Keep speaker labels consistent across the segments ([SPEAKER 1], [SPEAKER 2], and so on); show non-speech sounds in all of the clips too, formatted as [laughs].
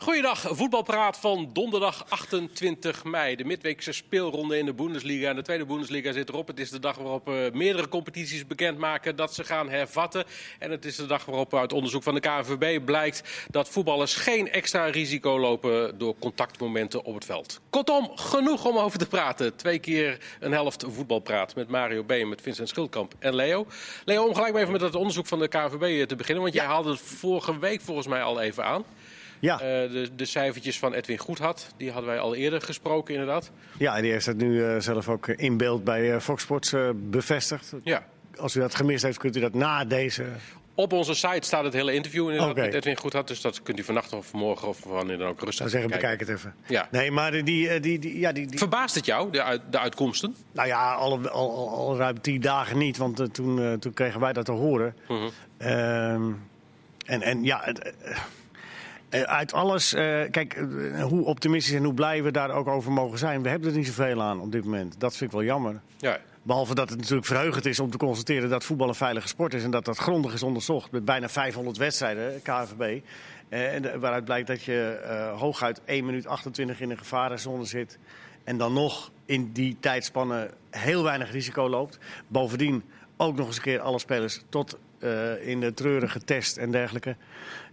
[SPEAKER 1] Goeiedag, voetbalpraat van donderdag 28 mei. De midweekse speelronde in de Bundesliga en de tweede Bundesliga zit erop. Het is de dag waarop eh, meerdere competities bekendmaken dat ze gaan hervatten. En het is de dag waarop uit onderzoek van de KNVB blijkt dat voetballers geen extra risico lopen door contactmomenten op het veld. Kortom, genoeg om over te praten. Twee keer een helft voetbalpraat met Mario Been, met Vincent Schildkamp en Leo. Leo, om gelijk maar even met het onderzoek van de KNVB te beginnen, want jij haalde het vorige week volgens mij al even aan.
[SPEAKER 2] Ja,
[SPEAKER 1] Eh, de, de cijfertjes van Edwin Goedhad, die hadden wij al eerder gesproken inderdaad.
[SPEAKER 2] ja en die heeft het nu eh, zelf ook eh, in beeld bij eh, Fox Sports eh, bevestigd.
[SPEAKER 1] Ja.
[SPEAKER 2] Als u dat gemist heeft, kunt u dat na deze.
[SPEAKER 1] Op onze site staat het hele interview inderdaad
[SPEAKER 2] Oké.
[SPEAKER 1] met Edwin Goedhad. Dus dat kunt u vannacht of morgen of wanneer dan ook
[SPEAKER 2] zou
[SPEAKER 1] rustig
[SPEAKER 2] zeggen,
[SPEAKER 1] bekijken.
[SPEAKER 2] bekijk het even.
[SPEAKER 1] Ja.
[SPEAKER 2] Nee, maar die, die, die, die, ja, die, die-
[SPEAKER 1] Verbaast het jou, de, uit- de uitkomsten?
[SPEAKER 2] nou ja, al, al, al, al ruim tien dagen niet, want eh, toen, eh, toen kregen wij dat te horen.
[SPEAKER 1] Mhm.
[SPEAKER 2] Ehm, en, en ja, het, eh, eh, uit alles, eh, kijk, eh, hoe optimistisch en hoe blij we daar ook over mogen zijn. We hebben er niet zoveel aan op dit moment. Dat vind ik wel jammer.
[SPEAKER 1] Ja.
[SPEAKER 2] Behalve dat het natuurlijk verheugend is om te constateren dat voetbal een veilige sport is. En dat dat grondig is onderzocht met bijna 500 wedstrijden, KNVB. Eh, en de- waaruit blijkt dat je eh, hooguit 1 minuut 28 in een gevarenzone zit. En dan nog in die tijdspanne heel weinig risico loopt. Bovendien ook nog eens een keer alle spelers tot eh, in de treuren getest en dergelijke.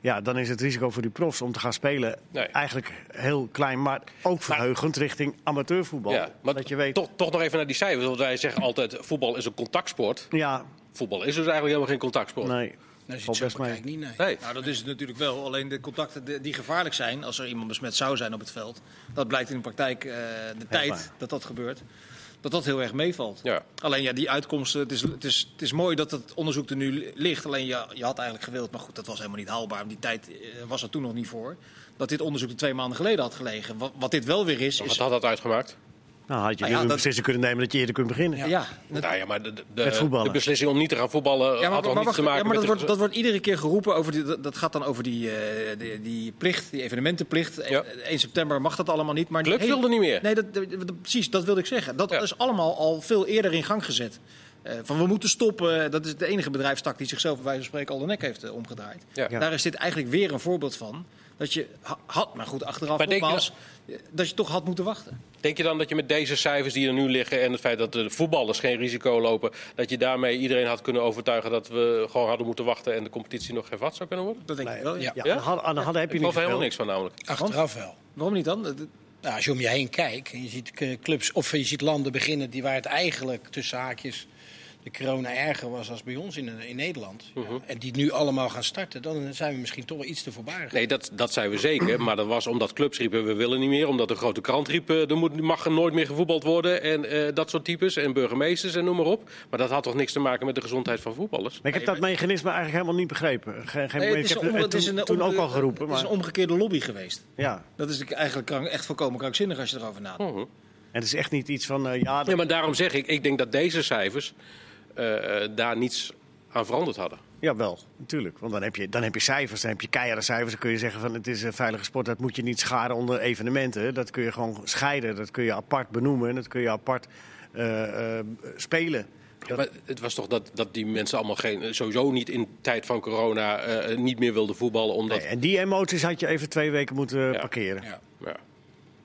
[SPEAKER 2] Ja, dan is het risico voor die profs om te gaan spelen
[SPEAKER 1] Nee.
[SPEAKER 2] eigenlijk heel klein. Maar ook verheugend richting amateurvoetbal.
[SPEAKER 1] ja. Maar
[SPEAKER 2] Oh, dat je weet...
[SPEAKER 1] toch, toch nog even naar die cijfers. Want wij zeggen altijd, voetbal is een contactsport.
[SPEAKER 2] Ja,
[SPEAKER 1] Voetbal is dus eigenlijk helemaal geen contactsport.
[SPEAKER 2] nee.
[SPEAKER 3] Nou, als
[SPEAKER 2] Valt
[SPEAKER 3] je het
[SPEAKER 2] best
[SPEAKER 3] zo
[SPEAKER 2] mee.
[SPEAKER 3] bekijkt niet, nee.
[SPEAKER 1] Nee.
[SPEAKER 3] Nou, dat is het natuurlijk wel. Alleen de contacten de- die gevaarlijk zijn, als er iemand besmet zou zijn op het veld, dat blijkt in de praktijk eh, de tijd
[SPEAKER 2] waar.
[SPEAKER 3] dat dat gebeurt, dat dat heel erg meevalt.
[SPEAKER 1] Ja.
[SPEAKER 3] Alleen ja, die uitkomsten, het is, het, is, het is mooi dat het onderzoek er nu ligt. Alleen ja, je had eigenlijk gewild, maar goed, dat was helemaal niet haalbaar. want Die tijd eh, was er toen nog niet voor. Dat dit onderzoek er twee maanden geleden had gelegen. Wat, wat dit wel weer is,
[SPEAKER 1] Wat
[SPEAKER 3] is...
[SPEAKER 1] had dat uitgemaakt?
[SPEAKER 2] Nou, had je
[SPEAKER 3] Nou
[SPEAKER 2] nu
[SPEAKER 3] ja,
[SPEAKER 2] een
[SPEAKER 3] dat-
[SPEAKER 2] beslissing kunnen nemen dat je eerder kunt beginnen.
[SPEAKER 3] Ja, dat-
[SPEAKER 1] Nou ja, maar de, de,
[SPEAKER 2] Met
[SPEAKER 1] de,
[SPEAKER 2] voetballen.
[SPEAKER 1] de beslissing om niet te gaan voetballen eh,
[SPEAKER 3] Ja, maar,
[SPEAKER 1] had toch
[SPEAKER 3] maar
[SPEAKER 1] niets
[SPEAKER 3] wacht,
[SPEAKER 1] te maken
[SPEAKER 3] ja, maar
[SPEAKER 1] met
[SPEAKER 3] dat,
[SPEAKER 1] de-
[SPEAKER 3] wordt, dat wordt iedere keer geroepen. Over die, dat, dat gaat dan over die, eh, die, die plicht, die evenementenplicht.
[SPEAKER 1] Ja.
[SPEAKER 3] 1 september mag dat allemaal niet. Maar die
[SPEAKER 1] Clubs
[SPEAKER 3] hele-
[SPEAKER 1] wilden niet meer.
[SPEAKER 3] Nee, dat, dat- dat- precies, dat wilde ik zeggen. Dat
[SPEAKER 1] Ja.
[SPEAKER 3] is allemaal al veel eerder in gang gezet. Eh, van we moeten stoppen. Dat is de enige bedrijfstak die zichzelf bij wijze van spreken al de nek heeft eh, omgedraaid.
[SPEAKER 1] Ja.
[SPEAKER 2] Ja.
[SPEAKER 3] Daar is dit eigenlijk weer een voorbeeld van. Dat je ha- had, maar goed, achteraf
[SPEAKER 1] Maar denk je
[SPEAKER 3] nogmaals, eh, dat je toch had moeten wachten.
[SPEAKER 1] Denk je dan dat je met deze cijfers die er nu liggen en het feit dat de voetballers geen risico lopen, dat je daarmee iedereen had kunnen overtuigen dat we gewoon hadden moeten wachten en de competitie nog hervat zou kunnen worden?
[SPEAKER 3] Dat denk ik wel, ja.
[SPEAKER 2] Ja,
[SPEAKER 1] Ja?
[SPEAKER 2] aan de hand- aan de hand heb je
[SPEAKER 1] Ik
[SPEAKER 2] niet
[SPEAKER 1] geloof er helemaal
[SPEAKER 2] veel.
[SPEAKER 1] niks van namelijk.
[SPEAKER 4] Achteraf wel.
[SPEAKER 3] Waarom niet dan? Dat-
[SPEAKER 4] Nou, als je om je heen kijkt en je ziet eh, clubs of je ziet landen beginnen die waar het eigenlijk tussen haakjes de corona erger was als bij ons in, eh, in Nederland. ja,
[SPEAKER 1] Mhm.
[SPEAKER 4] en die nu allemaal gaan starten, dan zijn we misschien toch wel iets te voorbarig.
[SPEAKER 1] Nee, dat, dat zijn we zeker. Maar dat was omdat clubs riepen we willen niet meer. Omdat de grote krant riep eh, er moet, mag er nooit meer gevoetbald worden. En eh, dat soort types. En burgemeesters en noem maar op. Maar dat had toch niks te maken met de gezondheid van voetballers?
[SPEAKER 2] Maar ik heb dat mechanisme eigenlijk helemaal niet begrepen. Geen, geen,
[SPEAKER 3] Nee,
[SPEAKER 2] ik heb
[SPEAKER 3] een om-
[SPEAKER 2] het
[SPEAKER 3] het is
[SPEAKER 2] toen,
[SPEAKER 3] een
[SPEAKER 2] toen
[SPEAKER 3] om-
[SPEAKER 2] ook al geroepen.
[SPEAKER 3] Het
[SPEAKER 2] Maar,
[SPEAKER 3] is een omgekeerde lobby geweest.
[SPEAKER 2] ja.
[SPEAKER 3] Dat is eigenlijk krank- echt volkomen krankzinnig als je erover nadenkt.
[SPEAKER 1] Hmm.
[SPEAKER 2] En het is echt niet iets van, eh, ja, dat-
[SPEAKER 1] Ja, maar daarom zeg ik, ik denk dat deze cijfers eh, eh, daar niets aan veranderd hadden.
[SPEAKER 2] jawel, natuurlijk. Want dan heb, je, dan heb je cijfers, dan heb je keiharde cijfers. Dan kun je zeggen van, het is een veilige sport. Dat moet je niet scharen onder evenementen. Dat kun je gewoon scheiden. Dat kun je apart benoemen. en Dat kun je apart eh, eh, spelen. Dat-
[SPEAKER 1] Maar het was toch dat, dat die mensen allemaal geen, sowieso niet in tijd van corona eh, niet meer wilden voetballen. Omdat,
[SPEAKER 2] Nee, en die emoties had je even twee weken moeten parkeren.
[SPEAKER 4] Ja.
[SPEAKER 1] ja,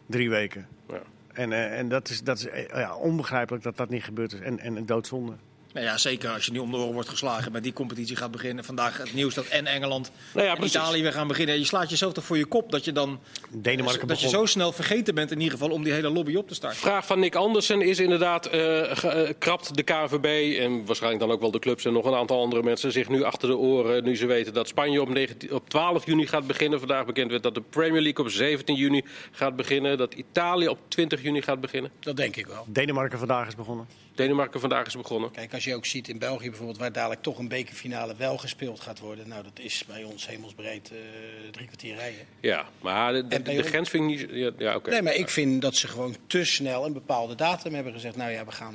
[SPEAKER 2] Drie weken.
[SPEAKER 1] ja.
[SPEAKER 2] En, eh, en dat is, dat is eh, ja, onbegrijpelijk dat dat niet gebeurd is. En, en een doodzonde.
[SPEAKER 3] Nou ja, zeker als je nu om de oren wordt geslagen met die competitie gaat beginnen. Vandaag het nieuws dat en Engeland
[SPEAKER 1] Nou ja,
[SPEAKER 3] en
[SPEAKER 1] precies.
[SPEAKER 3] Italië weer gaan beginnen. Je slaat jezelf toch voor je kop dat je dan
[SPEAKER 2] Denemarken
[SPEAKER 3] dat je
[SPEAKER 2] begon.
[SPEAKER 3] zo snel vergeten bent in ieder geval om die hele lobby op te starten.
[SPEAKER 1] Vraag van Nick Andersen is inderdaad, eh, ge- eh, krapt de KNVB en waarschijnlijk dan ook wel de clubs en nog een aantal andere mensen zich nu achter de oren nu ze weten dat Spanje op, 19 op 12 juni gaat beginnen. Vandaag bekend werd dat de Premier League op 17 juni gaat beginnen, dat Italië op 20 juni gaat beginnen.
[SPEAKER 4] Dat denk ik wel.
[SPEAKER 2] Denemarken vandaag is begonnen.
[SPEAKER 1] Denemarken vandaag is begonnen.
[SPEAKER 4] Kijk, als je ook ziet in België bijvoorbeeld, waar dadelijk toch een bekerfinale wel gespeeld gaat worden. Nou, dat is bij ons hemelsbreed eh, drie kwartier rijden.
[SPEAKER 1] Ja, maar de, de,
[SPEAKER 4] En bij
[SPEAKER 1] de
[SPEAKER 4] ons-
[SPEAKER 1] grens vind ik niet... Ja, ja oké.
[SPEAKER 4] Nee, maar ik vind dat ze gewoon te snel een bepaalde datum hebben gezegd. Nou ja, we gaan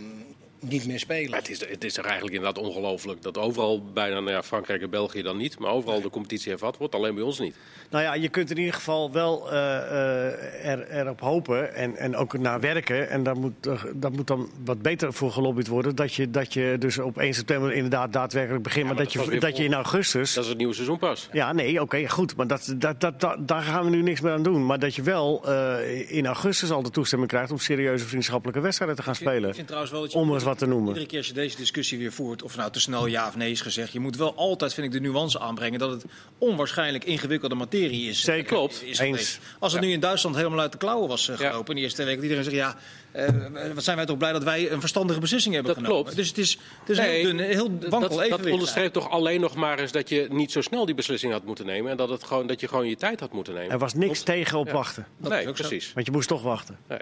[SPEAKER 4] niet meer spelen.
[SPEAKER 1] Maar het, is, het is toch eigenlijk inderdaad ongelooflijk dat overal, bijna nou ja, Frankrijk en België dan niet, maar overal de competitie hervat wordt, alleen bij ons niet.
[SPEAKER 2] Nou ja, je kunt in ieder geval wel eh, eh, er, erop hopen en, en ook naar werken. En daar moet, eh, daar moet dan wat beter voor gelobbyd worden. Dat je, dat je dus op 1 september inderdaad daadwerkelijk begint. maar
[SPEAKER 1] maar
[SPEAKER 2] dat,
[SPEAKER 1] dat
[SPEAKER 2] je,
[SPEAKER 1] was weer
[SPEAKER 2] dat je in augustus.
[SPEAKER 1] Dat is het nieuwe seizoen pas.
[SPEAKER 2] Ja, nee, oké, goed. Maar dat, dat, dat, dat- daar gaan we nu niks meer aan doen. Maar dat je wel eh, in augustus al de toestemming krijgt om serieuze vriendschappelijke wedstrijden te gaan
[SPEAKER 3] Ik
[SPEAKER 2] spelen.
[SPEAKER 3] vind trouwens wel dat je
[SPEAKER 2] Om eens wat te noemen.
[SPEAKER 3] Iedere keer als je deze discussie weer voert, of nou te snel ja of nee is gezegd, je moet wel altijd, vind ik, de nuance aanbrengen dat het onwaarschijnlijk ingewikkelde materie is.
[SPEAKER 2] Zeker.
[SPEAKER 1] Klopt.
[SPEAKER 3] Is
[SPEAKER 2] Eens.
[SPEAKER 3] geweest. Als het nu in Duitsland helemaal uit de klauwen was eh,
[SPEAKER 1] Ja.
[SPEAKER 3] gelopen in de eerste week, dat iedereen zegt ja, eh, wat zijn wij toch blij dat wij een verstandige beslissing hebben
[SPEAKER 1] Dat
[SPEAKER 3] genomen.
[SPEAKER 1] klopt.
[SPEAKER 3] Dus het is, het is
[SPEAKER 1] Nee,
[SPEAKER 3] een heel, dun, heel wankel
[SPEAKER 1] Dat, dat
[SPEAKER 3] evenwicht.
[SPEAKER 1] onderstreept toch alleen nog maar eens dat je niet zo snel die beslissing had moeten nemen. En dat, het gewoon, dat je gewoon je tijd had moeten
[SPEAKER 2] Er
[SPEAKER 1] nemen.
[SPEAKER 2] was niks tegen op
[SPEAKER 1] Ja.
[SPEAKER 2] wachten.
[SPEAKER 3] Dat
[SPEAKER 1] nee,
[SPEAKER 3] is ook zo.
[SPEAKER 1] precies.
[SPEAKER 2] Want je moest toch wachten.
[SPEAKER 1] Nee.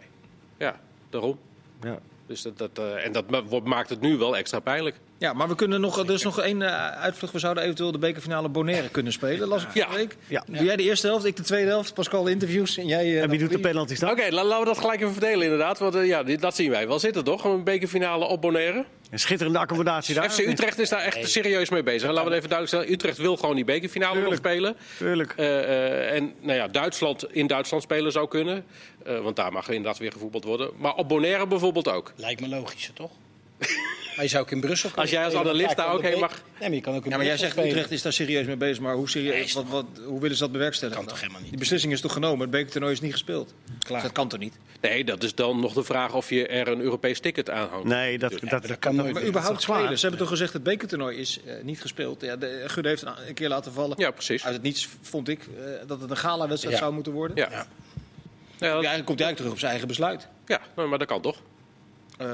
[SPEAKER 1] Ja, daarom.
[SPEAKER 2] Ja.
[SPEAKER 1] Dus dat, dat, eh, en dat ma- wordt- maakt het nu wel extra pijnlijk.
[SPEAKER 3] Ja, maar we kunnen nog, er is nog één eh, uitvlucht. We zouden eventueel de bekerfinale Bonaire kunnen spelen, las ik
[SPEAKER 1] Ja.
[SPEAKER 3] vorige week.
[SPEAKER 2] Ja.
[SPEAKER 3] Doe jij de eerste helft, ik de tweede helft, Pascal interviews en jij... eh,
[SPEAKER 2] En wie doet de
[SPEAKER 3] Napoleon.
[SPEAKER 2] penalties
[SPEAKER 1] Oké,
[SPEAKER 2] dan?
[SPEAKER 1] la- laten we dat gelijk even verdelen inderdaad. Want eh, ja, dit- dat zien wij wel zitten toch? Een bekerfinale op Bonaire.
[SPEAKER 2] Een schitterende accommodatie daar.
[SPEAKER 1] FC Utrecht is daar echt serieus mee bezig. Laten we het even duidelijk stellen. Utrecht wil gewoon die bekerfinale nog
[SPEAKER 2] Tuurlijk.
[SPEAKER 1] spelen.
[SPEAKER 2] Tuurlijk.
[SPEAKER 1] Eh, eh, en nou ja, Duitsland in Duitsland spelen zou kunnen. Eh, want daar mag inderdaad weer gevoetbald worden. Maar op Bonaire bijvoorbeeld ook.
[SPEAKER 4] Lijkt me logischer, toch? maar je zou ook in Brussel kunnen
[SPEAKER 1] Als jij als
[SPEAKER 4] spelen, want
[SPEAKER 1] analist daar
[SPEAKER 4] kan
[SPEAKER 1] ook
[SPEAKER 4] de
[SPEAKER 1] heen
[SPEAKER 4] be-
[SPEAKER 1] mag-
[SPEAKER 4] Nee, maar je kan ook in
[SPEAKER 3] Ja, maar jij
[SPEAKER 4] Brussel
[SPEAKER 3] zegt
[SPEAKER 4] spelen.
[SPEAKER 3] Utrecht is daar serieus mee bezig, maar hoe,
[SPEAKER 4] Nee,
[SPEAKER 3] serieus,
[SPEAKER 4] is
[SPEAKER 3] wat, wat, hoe willen ze dat bewerkstelligen?
[SPEAKER 4] Kan toch helemaal niet?
[SPEAKER 3] Die beslissing is toch genomen, het bekertoernooi is niet gespeeld. Dus
[SPEAKER 4] Klaar.
[SPEAKER 3] Dat kan toch niet?
[SPEAKER 1] Nee, dat is dan nog de vraag of je er een Europees ticket aan hangt.
[SPEAKER 2] Nee, dat,
[SPEAKER 4] Ja, maar
[SPEAKER 2] dat,
[SPEAKER 4] dat kan nooit
[SPEAKER 3] Maar
[SPEAKER 4] meer.
[SPEAKER 3] überhaupt
[SPEAKER 2] toch klaar?
[SPEAKER 3] spelen. Ze hebben toch gezegd, het bekertoernooi is eh, niet gespeeld. Ja, de, Gudde heeft een, een keer laten vallen.
[SPEAKER 1] Ja, precies.
[SPEAKER 3] Uit het niets vond ik eh, dat het een gala-wedstrijd
[SPEAKER 4] Ja.
[SPEAKER 3] zou moeten worden.
[SPEAKER 1] Ja.
[SPEAKER 4] Ja.
[SPEAKER 1] Ja, dat-
[SPEAKER 3] Eigenlijk komt hij eigenlijk terug op zijn eigen besluit.
[SPEAKER 1] ja, maar maar dat kan toch?
[SPEAKER 3] Eh,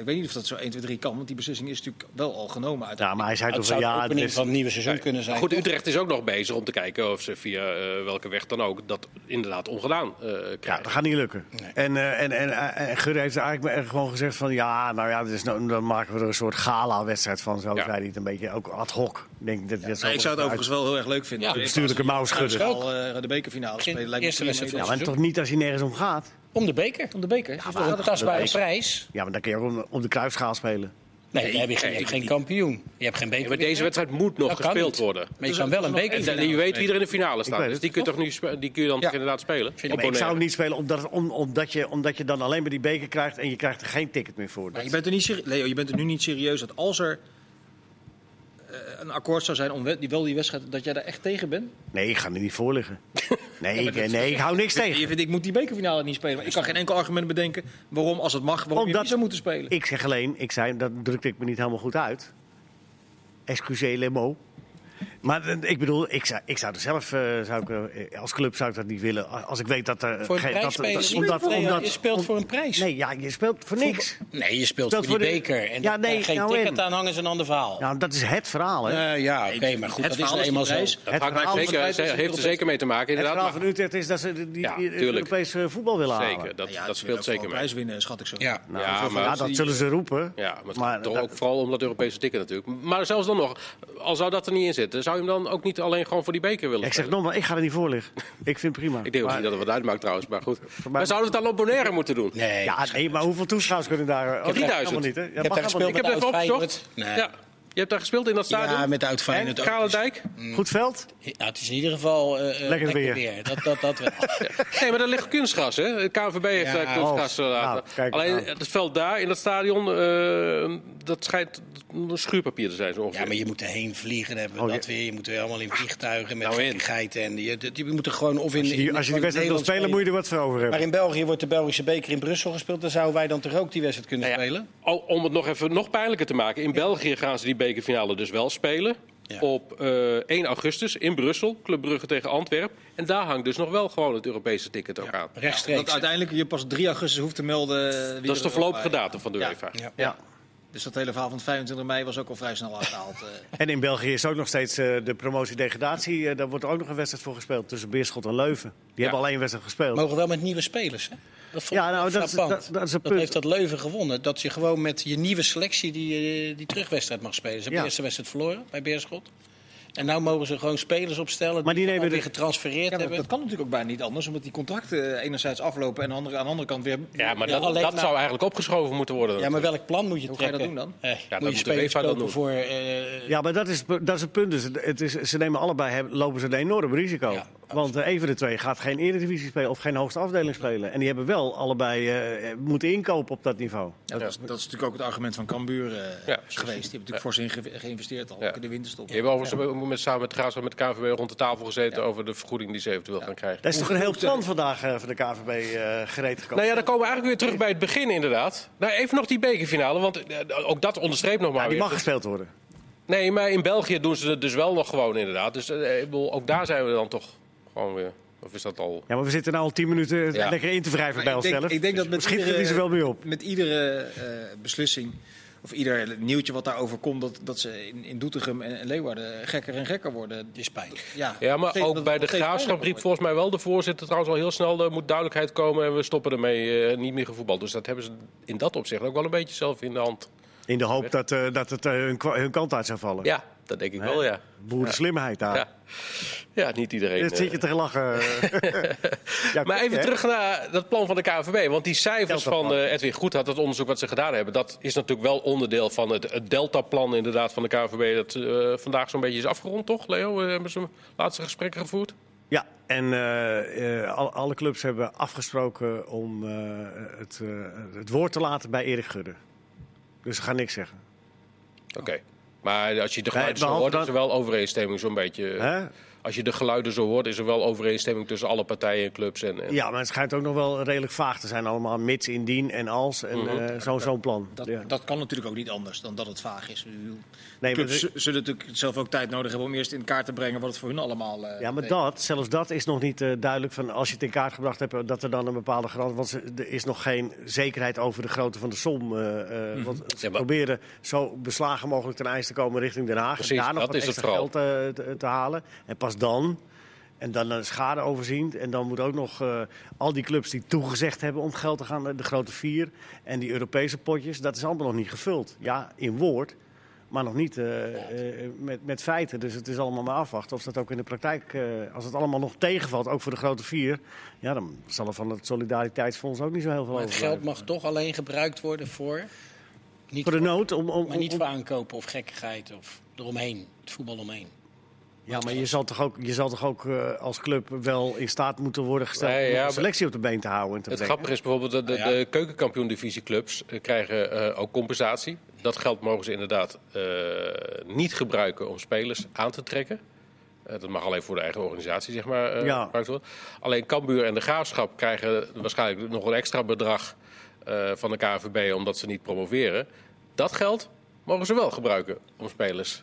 [SPEAKER 3] ik weet niet of dat zo 1, 2, 3 kan, want die beslissing is natuurlijk wel al genomen. Uit.
[SPEAKER 2] Ja, maar hij zei
[SPEAKER 4] Het
[SPEAKER 2] toch
[SPEAKER 4] zou
[SPEAKER 2] van
[SPEAKER 4] de
[SPEAKER 2] ja,
[SPEAKER 4] opening
[SPEAKER 2] dus-
[SPEAKER 4] van het nieuwe seizoen kunnen zijn.
[SPEAKER 1] Maar goed,
[SPEAKER 4] toch?
[SPEAKER 1] Utrecht is ook nog bezig om te kijken of ze via eh, welke weg dan ook dat inderdaad ongedaan eh,
[SPEAKER 2] ja,
[SPEAKER 1] krijgen.
[SPEAKER 2] dat gaat niet lukken.
[SPEAKER 4] Nee.
[SPEAKER 2] En, eh, en, en, eh, en Gudde heeft eigenlijk maar gewoon gezegd van ja, nou ja, dus nou- dan maken we er een soort gala-wedstrijd van. Zo
[SPEAKER 1] Ja.
[SPEAKER 2] zei hij het een beetje, ook ad hoc. Ik Denk, dat, dat
[SPEAKER 3] Nou, ik zou het overigens wel heel erg leuk vinden.
[SPEAKER 4] Ja,
[SPEAKER 3] Als die-
[SPEAKER 2] Bestuurlijke mouw schudden.
[SPEAKER 3] al eh, de bekerfinale spelen. lijkt me
[SPEAKER 4] Eerste
[SPEAKER 3] prima.
[SPEAKER 4] wedstrijd
[SPEAKER 2] Ja, maar toch niet als hij nergens om gaat.
[SPEAKER 4] Om de beker.
[SPEAKER 3] Om de beker.
[SPEAKER 4] Dat is toch een tastbare prijs?
[SPEAKER 2] Ja, maar dan kun je ook om, om de kruisschaal spelen.
[SPEAKER 4] Nee, dan heb je geen, je hebt geen kampioen. Je hebt geen beker.
[SPEAKER 1] maar deze wedstrijd moet nog
[SPEAKER 4] Dat kan
[SPEAKER 1] gespeeld
[SPEAKER 4] niet.
[SPEAKER 1] worden.
[SPEAKER 4] Maar je kan wel een beker.
[SPEAKER 1] En dan- je weet wie er in de finale
[SPEAKER 2] Ik
[SPEAKER 1] staat.
[SPEAKER 2] weet
[SPEAKER 1] Dus
[SPEAKER 2] het.
[SPEAKER 1] die kun je, toch nu, spe- die kun je dan toch inderdaad spelen.
[SPEAKER 2] Ja,
[SPEAKER 1] Op
[SPEAKER 2] maar ik zou hem
[SPEAKER 1] Bonaire.
[SPEAKER 2] niet spelen omdat, het- om, omdat, je, omdat je dan alleen maar die beker krijgt en je krijgt er geen ticket meer voor.
[SPEAKER 3] Maar je bent er niet serie- Leo, je bent er nu niet serieus dat als er eh, een akkoord zou zijn om we- die, wel die wedstrijd, dat jij daar echt tegen bent?
[SPEAKER 2] Nee, ik ga er niet voor liggen. Nee, ik, nee ik hou niks tegen.
[SPEAKER 3] Je vindt, ik moet die bekerfinale niet spelen. Maar ik kan geen enkel argument bedenken waarom, als het mag, waarom je
[SPEAKER 2] Omdat-
[SPEAKER 3] niet zou moeten spelen.
[SPEAKER 2] [laughs] Ik zeg alleen, ik zei, dat drukte ik me niet helemaal goed uit. Excusez les mots. Maar eh, ik bedoel, ik zou, ik zou er zelf, eh, zou ik, eh, als club zou ik dat niet willen. A- Als ik weet dat er...
[SPEAKER 4] Voor een
[SPEAKER 2] geen-
[SPEAKER 4] prijs
[SPEAKER 2] dat-
[SPEAKER 4] spelen.
[SPEAKER 2] dat-
[SPEAKER 4] Je
[SPEAKER 2] omdat-
[SPEAKER 4] speelt voor-
[SPEAKER 2] omdat-
[SPEAKER 4] je speelt
[SPEAKER 2] om-
[SPEAKER 4] voor een prijs.
[SPEAKER 2] Nee, ja, je speelt voor niks.
[SPEAKER 4] Nee, je speelt
[SPEAKER 2] Dat
[SPEAKER 4] voor die
[SPEAKER 2] voor de-
[SPEAKER 4] beker. En
[SPEAKER 2] Ja,
[SPEAKER 4] dat-
[SPEAKER 2] nee,
[SPEAKER 4] daar geen
[SPEAKER 2] nou
[SPEAKER 4] ticket
[SPEAKER 2] in.
[SPEAKER 4] aan hangen is een ander verhaal.
[SPEAKER 2] Nou, dat is het verhaal, hè.
[SPEAKER 4] Eh, ja, oké, maar goed, dat
[SPEAKER 3] het
[SPEAKER 4] is
[SPEAKER 3] verhaal
[SPEAKER 4] nou
[SPEAKER 3] is
[SPEAKER 4] eenmaal
[SPEAKER 3] die
[SPEAKER 4] zo.
[SPEAKER 3] prijs.
[SPEAKER 1] Dat
[SPEAKER 2] Het
[SPEAKER 1] hangt mij
[SPEAKER 2] verhaal
[SPEAKER 1] zeker,
[SPEAKER 3] is-
[SPEAKER 1] heeft er zeker mee te maken,
[SPEAKER 2] het
[SPEAKER 1] inderdaad.
[SPEAKER 2] verhaal
[SPEAKER 1] maar-
[SPEAKER 2] van Utrecht is dat ze die, die,
[SPEAKER 1] Ja,
[SPEAKER 2] die- het
[SPEAKER 1] tuurlijk.
[SPEAKER 2] Europese voetbal willen halen.
[SPEAKER 1] Zeker, dat,
[SPEAKER 3] Nou ja,
[SPEAKER 1] dat speelt
[SPEAKER 3] ze willen ook
[SPEAKER 1] zeker mee.
[SPEAKER 3] wel een prijs winnen, schat ik zo.
[SPEAKER 4] Ja.
[SPEAKER 2] Nou,
[SPEAKER 1] Ja,
[SPEAKER 2] zo van,
[SPEAKER 1] maar
[SPEAKER 2] ja,
[SPEAKER 1] als
[SPEAKER 2] dat
[SPEAKER 3] die-
[SPEAKER 2] zullen ze roepen.
[SPEAKER 1] Ja, maar het
[SPEAKER 2] Maar
[SPEAKER 1] gaat toch
[SPEAKER 2] dat-
[SPEAKER 1] ook vooral om dat Europese ticket natuurlijk. Maar zelfs dan nog, al zou dat er niet in zitten, zou je hem dan ook niet alleen gewoon voor die beker willen
[SPEAKER 2] Ik zeg
[SPEAKER 1] spelen?
[SPEAKER 2] nogmaals, ik ga er niet voor liggen. [laughs] Ik vind het prima.
[SPEAKER 1] Ik denk ook
[SPEAKER 2] Maar-
[SPEAKER 1] niet dat het wat uitmaakt trouwens, maar goed.
[SPEAKER 2] mij-
[SPEAKER 1] Maar zouden we het dan op Bonaire moeten doen?
[SPEAKER 4] Nee.
[SPEAKER 2] Ja, nee, maar hoeveel toeschouwers kunnen daar... Oh,
[SPEAKER 1] 3000.
[SPEAKER 2] helemaal niet, hè? Ja,
[SPEAKER 4] hebt
[SPEAKER 2] mag
[SPEAKER 4] daar
[SPEAKER 2] helemaal
[SPEAKER 1] Ik
[SPEAKER 2] niet.
[SPEAKER 1] heb het even
[SPEAKER 4] Oud
[SPEAKER 1] opgezocht.
[SPEAKER 4] Feyenoord? Nee.
[SPEAKER 1] Ja. Je hebt daar gespeeld in dat stadion?
[SPEAKER 4] Ja, met oud Feyenoord
[SPEAKER 1] En
[SPEAKER 4] ook.
[SPEAKER 1] Kralendijk?
[SPEAKER 2] Goed veld?
[SPEAKER 4] Nou, het is in ieder geval eh, eh, lekker,
[SPEAKER 2] weer.
[SPEAKER 4] Dat, dat, dat wel.
[SPEAKER 1] Nee, maar daar ligt kunstgras, hè? Het KNVB heeft
[SPEAKER 4] Ja,
[SPEAKER 1] daar kunstgras
[SPEAKER 2] oh,
[SPEAKER 1] eh, laten.
[SPEAKER 2] nou, kijk,
[SPEAKER 1] Alleen
[SPEAKER 2] nou.
[SPEAKER 1] het veld daar, in dat stadion, eh, dat schijnt een schuurpapier te zijn zo ongeveer.
[SPEAKER 4] Ja, maar je moet erheen vliegen, dan hebben we
[SPEAKER 2] Oh,
[SPEAKER 4] dat
[SPEAKER 2] ja.
[SPEAKER 4] weer. Je moet weer allemaal in vliegtuigen met
[SPEAKER 1] Nou, in.
[SPEAKER 4] geiten. En je, je moet er gewoon of in...
[SPEAKER 2] Als je die-
[SPEAKER 4] in-
[SPEAKER 2] als je die wedstrijd
[SPEAKER 4] in
[SPEAKER 2] wil
[SPEAKER 4] Nederland
[SPEAKER 2] spelen, moet je er wat voor over
[SPEAKER 4] Maar
[SPEAKER 2] hebben.
[SPEAKER 4] in België wordt de Belgische beker in Brussel gespeeld. Dan zouden wij dan toch ook die wedstrijd kunnen
[SPEAKER 1] Nou ja,
[SPEAKER 4] spelen?
[SPEAKER 1] al- om het nog even nog pijnlijker te maken. In België gaan ze die bekerfinale dus wel spelen.
[SPEAKER 4] Ja.
[SPEAKER 1] Op eh, 1 augustus in Brussel. Club Brugge tegen Antwerpen. En daar hangt dus nog wel gewoon het Europese ticket ook aan.
[SPEAKER 4] Rechtstreeks.
[SPEAKER 3] Dat uiteindelijk je pas 3 augustus hoeft te melden. eh, wie
[SPEAKER 1] Dat is
[SPEAKER 3] er
[SPEAKER 1] de
[SPEAKER 3] ook
[SPEAKER 1] voorlopige
[SPEAKER 3] bij-
[SPEAKER 1] datum van de
[SPEAKER 3] Ja.
[SPEAKER 1] UEFA.
[SPEAKER 4] Ja.
[SPEAKER 2] Ja.
[SPEAKER 3] Dus dat hele verhaal van 25 mei was ook al vrij snel uitgehaald.
[SPEAKER 4] [laughs]
[SPEAKER 3] eh.
[SPEAKER 2] En in België is ook nog steeds eh, de promotie-degradatie. eh, daar wordt ook nog een wedstrijd voor gespeeld tussen Beerschot en Leuven. Die hebben alleen een wedstrijd gespeeld.
[SPEAKER 4] mogen wel met nieuwe spelers, hè? Dat vond
[SPEAKER 2] Ja,
[SPEAKER 4] ik
[SPEAKER 2] nou, dat is-
[SPEAKER 4] frappant.
[SPEAKER 2] dat- dat is een
[SPEAKER 4] Dat
[SPEAKER 2] punt.
[SPEAKER 4] heeft dat Leuven gewonnen. Dat je gewoon met je nieuwe selectie die, eh, die terugwedstrijd mag spelen. Ze hebben
[SPEAKER 2] Ja.
[SPEAKER 4] de eerste wedstrijd verloren bij Beerschot. En nou mogen ze gewoon spelers opstellen
[SPEAKER 2] Maar die
[SPEAKER 4] die,
[SPEAKER 2] nemen
[SPEAKER 4] weer
[SPEAKER 2] de-
[SPEAKER 4] getransfereerd
[SPEAKER 3] Ja, dat,
[SPEAKER 4] hebben.
[SPEAKER 3] dat kan natuurlijk ook bijna niet anders, omdat die contracten eh, enerzijds aflopen en andere, aan de andere kant weer.
[SPEAKER 1] Ja, maar
[SPEAKER 4] Ja,
[SPEAKER 1] dat,
[SPEAKER 4] alleen
[SPEAKER 1] dat
[SPEAKER 4] maar-
[SPEAKER 1] zou eigenlijk opgeschoven moeten worden.
[SPEAKER 4] Ja, maar welk plan moet je
[SPEAKER 3] Hoe ga je
[SPEAKER 4] trekken?
[SPEAKER 3] dat doen
[SPEAKER 4] Eh,
[SPEAKER 1] dat
[SPEAKER 4] moet
[SPEAKER 1] moet
[SPEAKER 4] je
[SPEAKER 1] de
[SPEAKER 4] spelers
[SPEAKER 1] UEFA dan
[SPEAKER 4] kopen
[SPEAKER 1] doen.
[SPEAKER 4] voor... eh,
[SPEAKER 2] Ja, maar dat is, dat is het punt. Dus het- het is, ze nemen allebei hebben- lopen ze een enorm risico.
[SPEAKER 4] Ja,
[SPEAKER 2] Want eh, een van de twee gaat geen Eredivisie spelen of geen hoogste afdeling spelen. En die hebben wel allebei eh, moeten inkopen op dat niveau.
[SPEAKER 3] Ja, dat, is, dat is natuurlijk ook het argument van Cambuur eh,
[SPEAKER 1] precies.
[SPEAKER 3] geweest. Die hebben natuurlijk
[SPEAKER 1] Ja.
[SPEAKER 3] fors in ge- geïnvesteerd al
[SPEAKER 1] Ja.
[SPEAKER 3] ook in de winterstop.
[SPEAKER 1] Je hebt overigens ook met, samen met Graafschap en met KVB rond de tafel gezeten over de vergoeding die ze eventueel gaan krijgen.
[SPEAKER 2] Dat is toch een heel plan vandaag eh, van de KVB eh, gereed gekomen.
[SPEAKER 1] Nou ja, dan komen we eigenlijk weer terug bij het begin inderdaad. Nou, even nog die bekerfinale, want eh, ook dat onderstreept nog maar
[SPEAKER 2] Ja, die
[SPEAKER 1] weer.
[SPEAKER 2] mag gespeeld worden.
[SPEAKER 1] Nee, maar in België doen ze het dus wel nog gewoon inderdaad. Dus eh, ik bedoel, ook daar zijn we dan toch gewoon weer. Of is dat al...
[SPEAKER 2] Ja, maar we zitten nu al tien minuten eh,
[SPEAKER 1] Ja.
[SPEAKER 2] lekker in te wrijven bij
[SPEAKER 3] ik denk-
[SPEAKER 2] onszelf.
[SPEAKER 3] ik denk dat
[SPEAKER 2] Dus
[SPEAKER 3] met
[SPEAKER 2] Misschien
[SPEAKER 3] iedere-
[SPEAKER 2] verliezen we wel mee op.
[SPEAKER 3] Met iedere eh, beslissing of ieder nieuwtje wat daarover komt, dat, dat ze in, in Doetinchem en, en Leeuwarden gekker en gekker worden.
[SPEAKER 4] is pijnlijk.
[SPEAKER 3] Ja,
[SPEAKER 1] Ja, maar
[SPEAKER 3] steeds- dat
[SPEAKER 1] ook
[SPEAKER 3] het
[SPEAKER 1] bij de
[SPEAKER 3] nog steeds
[SPEAKER 1] graafschap riep
[SPEAKER 3] pijnlijker wordt.
[SPEAKER 1] volgens mij wel de voorzitter trouwens al heel snel... er moet duidelijkheid komen en we stoppen ermee, eh, niet meer gevoetbald. Dus dat hebben ze in dat opzicht ook wel een beetje zelf in de hand.
[SPEAKER 2] In de hoop dat, eh, dat het eh, hun, kwa- hun kant uit zou vallen.
[SPEAKER 1] Ja, dat denk ik
[SPEAKER 2] Nee.
[SPEAKER 1] wel, ja.
[SPEAKER 2] Boerenslimheid daar.
[SPEAKER 1] Ja, ja niet iedereen...
[SPEAKER 2] Dat
[SPEAKER 1] eh,
[SPEAKER 2] zit je
[SPEAKER 1] [laughs]
[SPEAKER 2] te lachen. Ja,
[SPEAKER 1] Maar
[SPEAKER 2] klopt,
[SPEAKER 1] even
[SPEAKER 2] hè?
[SPEAKER 1] terug naar dat plan van de KNVB. Want die cijfers
[SPEAKER 2] Deltaplan.
[SPEAKER 1] van eh, Edwin Goedhart, dat onderzoek wat ze gedaan hebben... dat is natuurlijk wel onderdeel van het, het Delta-plan inderdaad van de KNVB... dat eh, vandaag zo'n beetje is afgerond, toch, Leo? We hebben ze laatste gesprekken gevoerd.
[SPEAKER 2] Ja, en eh, eh, al- alle clubs hebben afgesproken om eh, het, eh, het woord te laten bij Erik Gudde. Dus ze gaan niks zeggen.
[SPEAKER 1] Oké. Maar als je de geluiden zo
[SPEAKER 2] behalve
[SPEAKER 1] hoort,
[SPEAKER 2] dat-
[SPEAKER 1] is er wel overeenstemming zo'n beetje.
[SPEAKER 2] Hè?
[SPEAKER 1] Als je de geluiden zo hoort, is er wel overeenstemming tussen alle partijen en clubs. En, en-
[SPEAKER 2] Ja, maar het schijnt ook nog wel redelijk vaag te zijn allemaal. Mits, indien en als en
[SPEAKER 1] Mhm.
[SPEAKER 2] eh, zo- zo'n plan.
[SPEAKER 3] Dat,
[SPEAKER 2] Ja.
[SPEAKER 3] dat kan natuurlijk ook niet anders dan dat het vaag is. Ik bedoel,
[SPEAKER 2] Nee, maar
[SPEAKER 3] clubs
[SPEAKER 2] de-
[SPEAKER 3] zullen natuurlijk zelf ook tijd nodig hebben om eerst in kaart te brengen wat het voor hun allemaal eh,
[SPEAKER 2] Ja, maar
[SPEAKER 3] betekent.
[SPEAKER 2] dat, zelfs dat is nog niet eh, duidelijk. Van als je het in kaart gebracht hebt, eh, dat er dan een bepaalde garant... Want ze- er is nog geen zekerheid over de grootte van de som. eh, eh, Want ze
[SPEAKER 1] Mhm. Ja, maar-
[SPEAKER 2] proberen zo beslagen mogelijk ten ijs te komen richting Den Haag.
[SPEAKER 1] Precies,
[SPEAKER 2] en daar nog
[SPEAKER 1] dat
[SPEAKER 2] wat
[SPEAKER 1] is het
[SPEAKER 2] extra
[SPEAKER 1] vooral.
[SPEAKER 2] geld eh, te, te halen. En pas dan... En dan eh, schade overzien. En dan moet ook nog eh, al die clubs die toegezegd hebben om geld te gaan. eh, De grote vier en die Europese potjes. Dat is allemaal nog niet gevuld. Ja, in woord. Maar nog niet eh, eh, met, met feiten. Dus het is allemaal maar afwachten of dat ook in de praktijk... eh, als het allemaal nog tegenvalt, ook voor de grote vier... ja, dan zal er van het Solidariteitsfonds ook niet zo heel veel
[SPEAKER 4] Maar
[SPEAKER 2] over
[SPEAKER 4] het geld
[SPEAKER 2] blijven.
[SPEAKER 4] mag toch alleen gebruikt worden voor... Niet
[SPEAKER 2] Voor de nood om... om,
[SPEAKER 4] Maar niet
[SPEAKER 2] om-
[SPEAKER 4] voor aankopen of gekkigheid of eromheen. Het voetbal omheen.
[SPEAKER 2] ja, maar je zal toch ook, je zal toch ook eh, als club wel in staat moeten worden gesteld...
[SPEAKER 1] Nee, ja,
[SPEAKER 2] om
[SPEAKER 1] maar-
[SPEAKER 2] de selectie op de been te houden en te
[SPEAKER 1] Het
[SPEAKER 2] brengen.
[SPEAKER 1] grappige is bijvoorbeeld dat de,
[SPEAKER 4] Nou ja.
[SPEAKER 1] de keukenkampioen-divisieclubs eh, krijgen eh, ook compensatie. Dat geld mogen ze inderdaad eh, niet gebruiken om spelers aan te trekken. Eh, dat mag alleen voor de eigen organisatie, zeg maar, eh,
[SPEAKER 2] Ja.
[SPEAKER 1] gebruikt worden. Alleen Cambuur en de Graafschap krijgen waarschijnlijk nog een extra bedrag eh, van de KVB omdat ze niet promoveren. Dat geld mogen ze wel gebruiken om spelers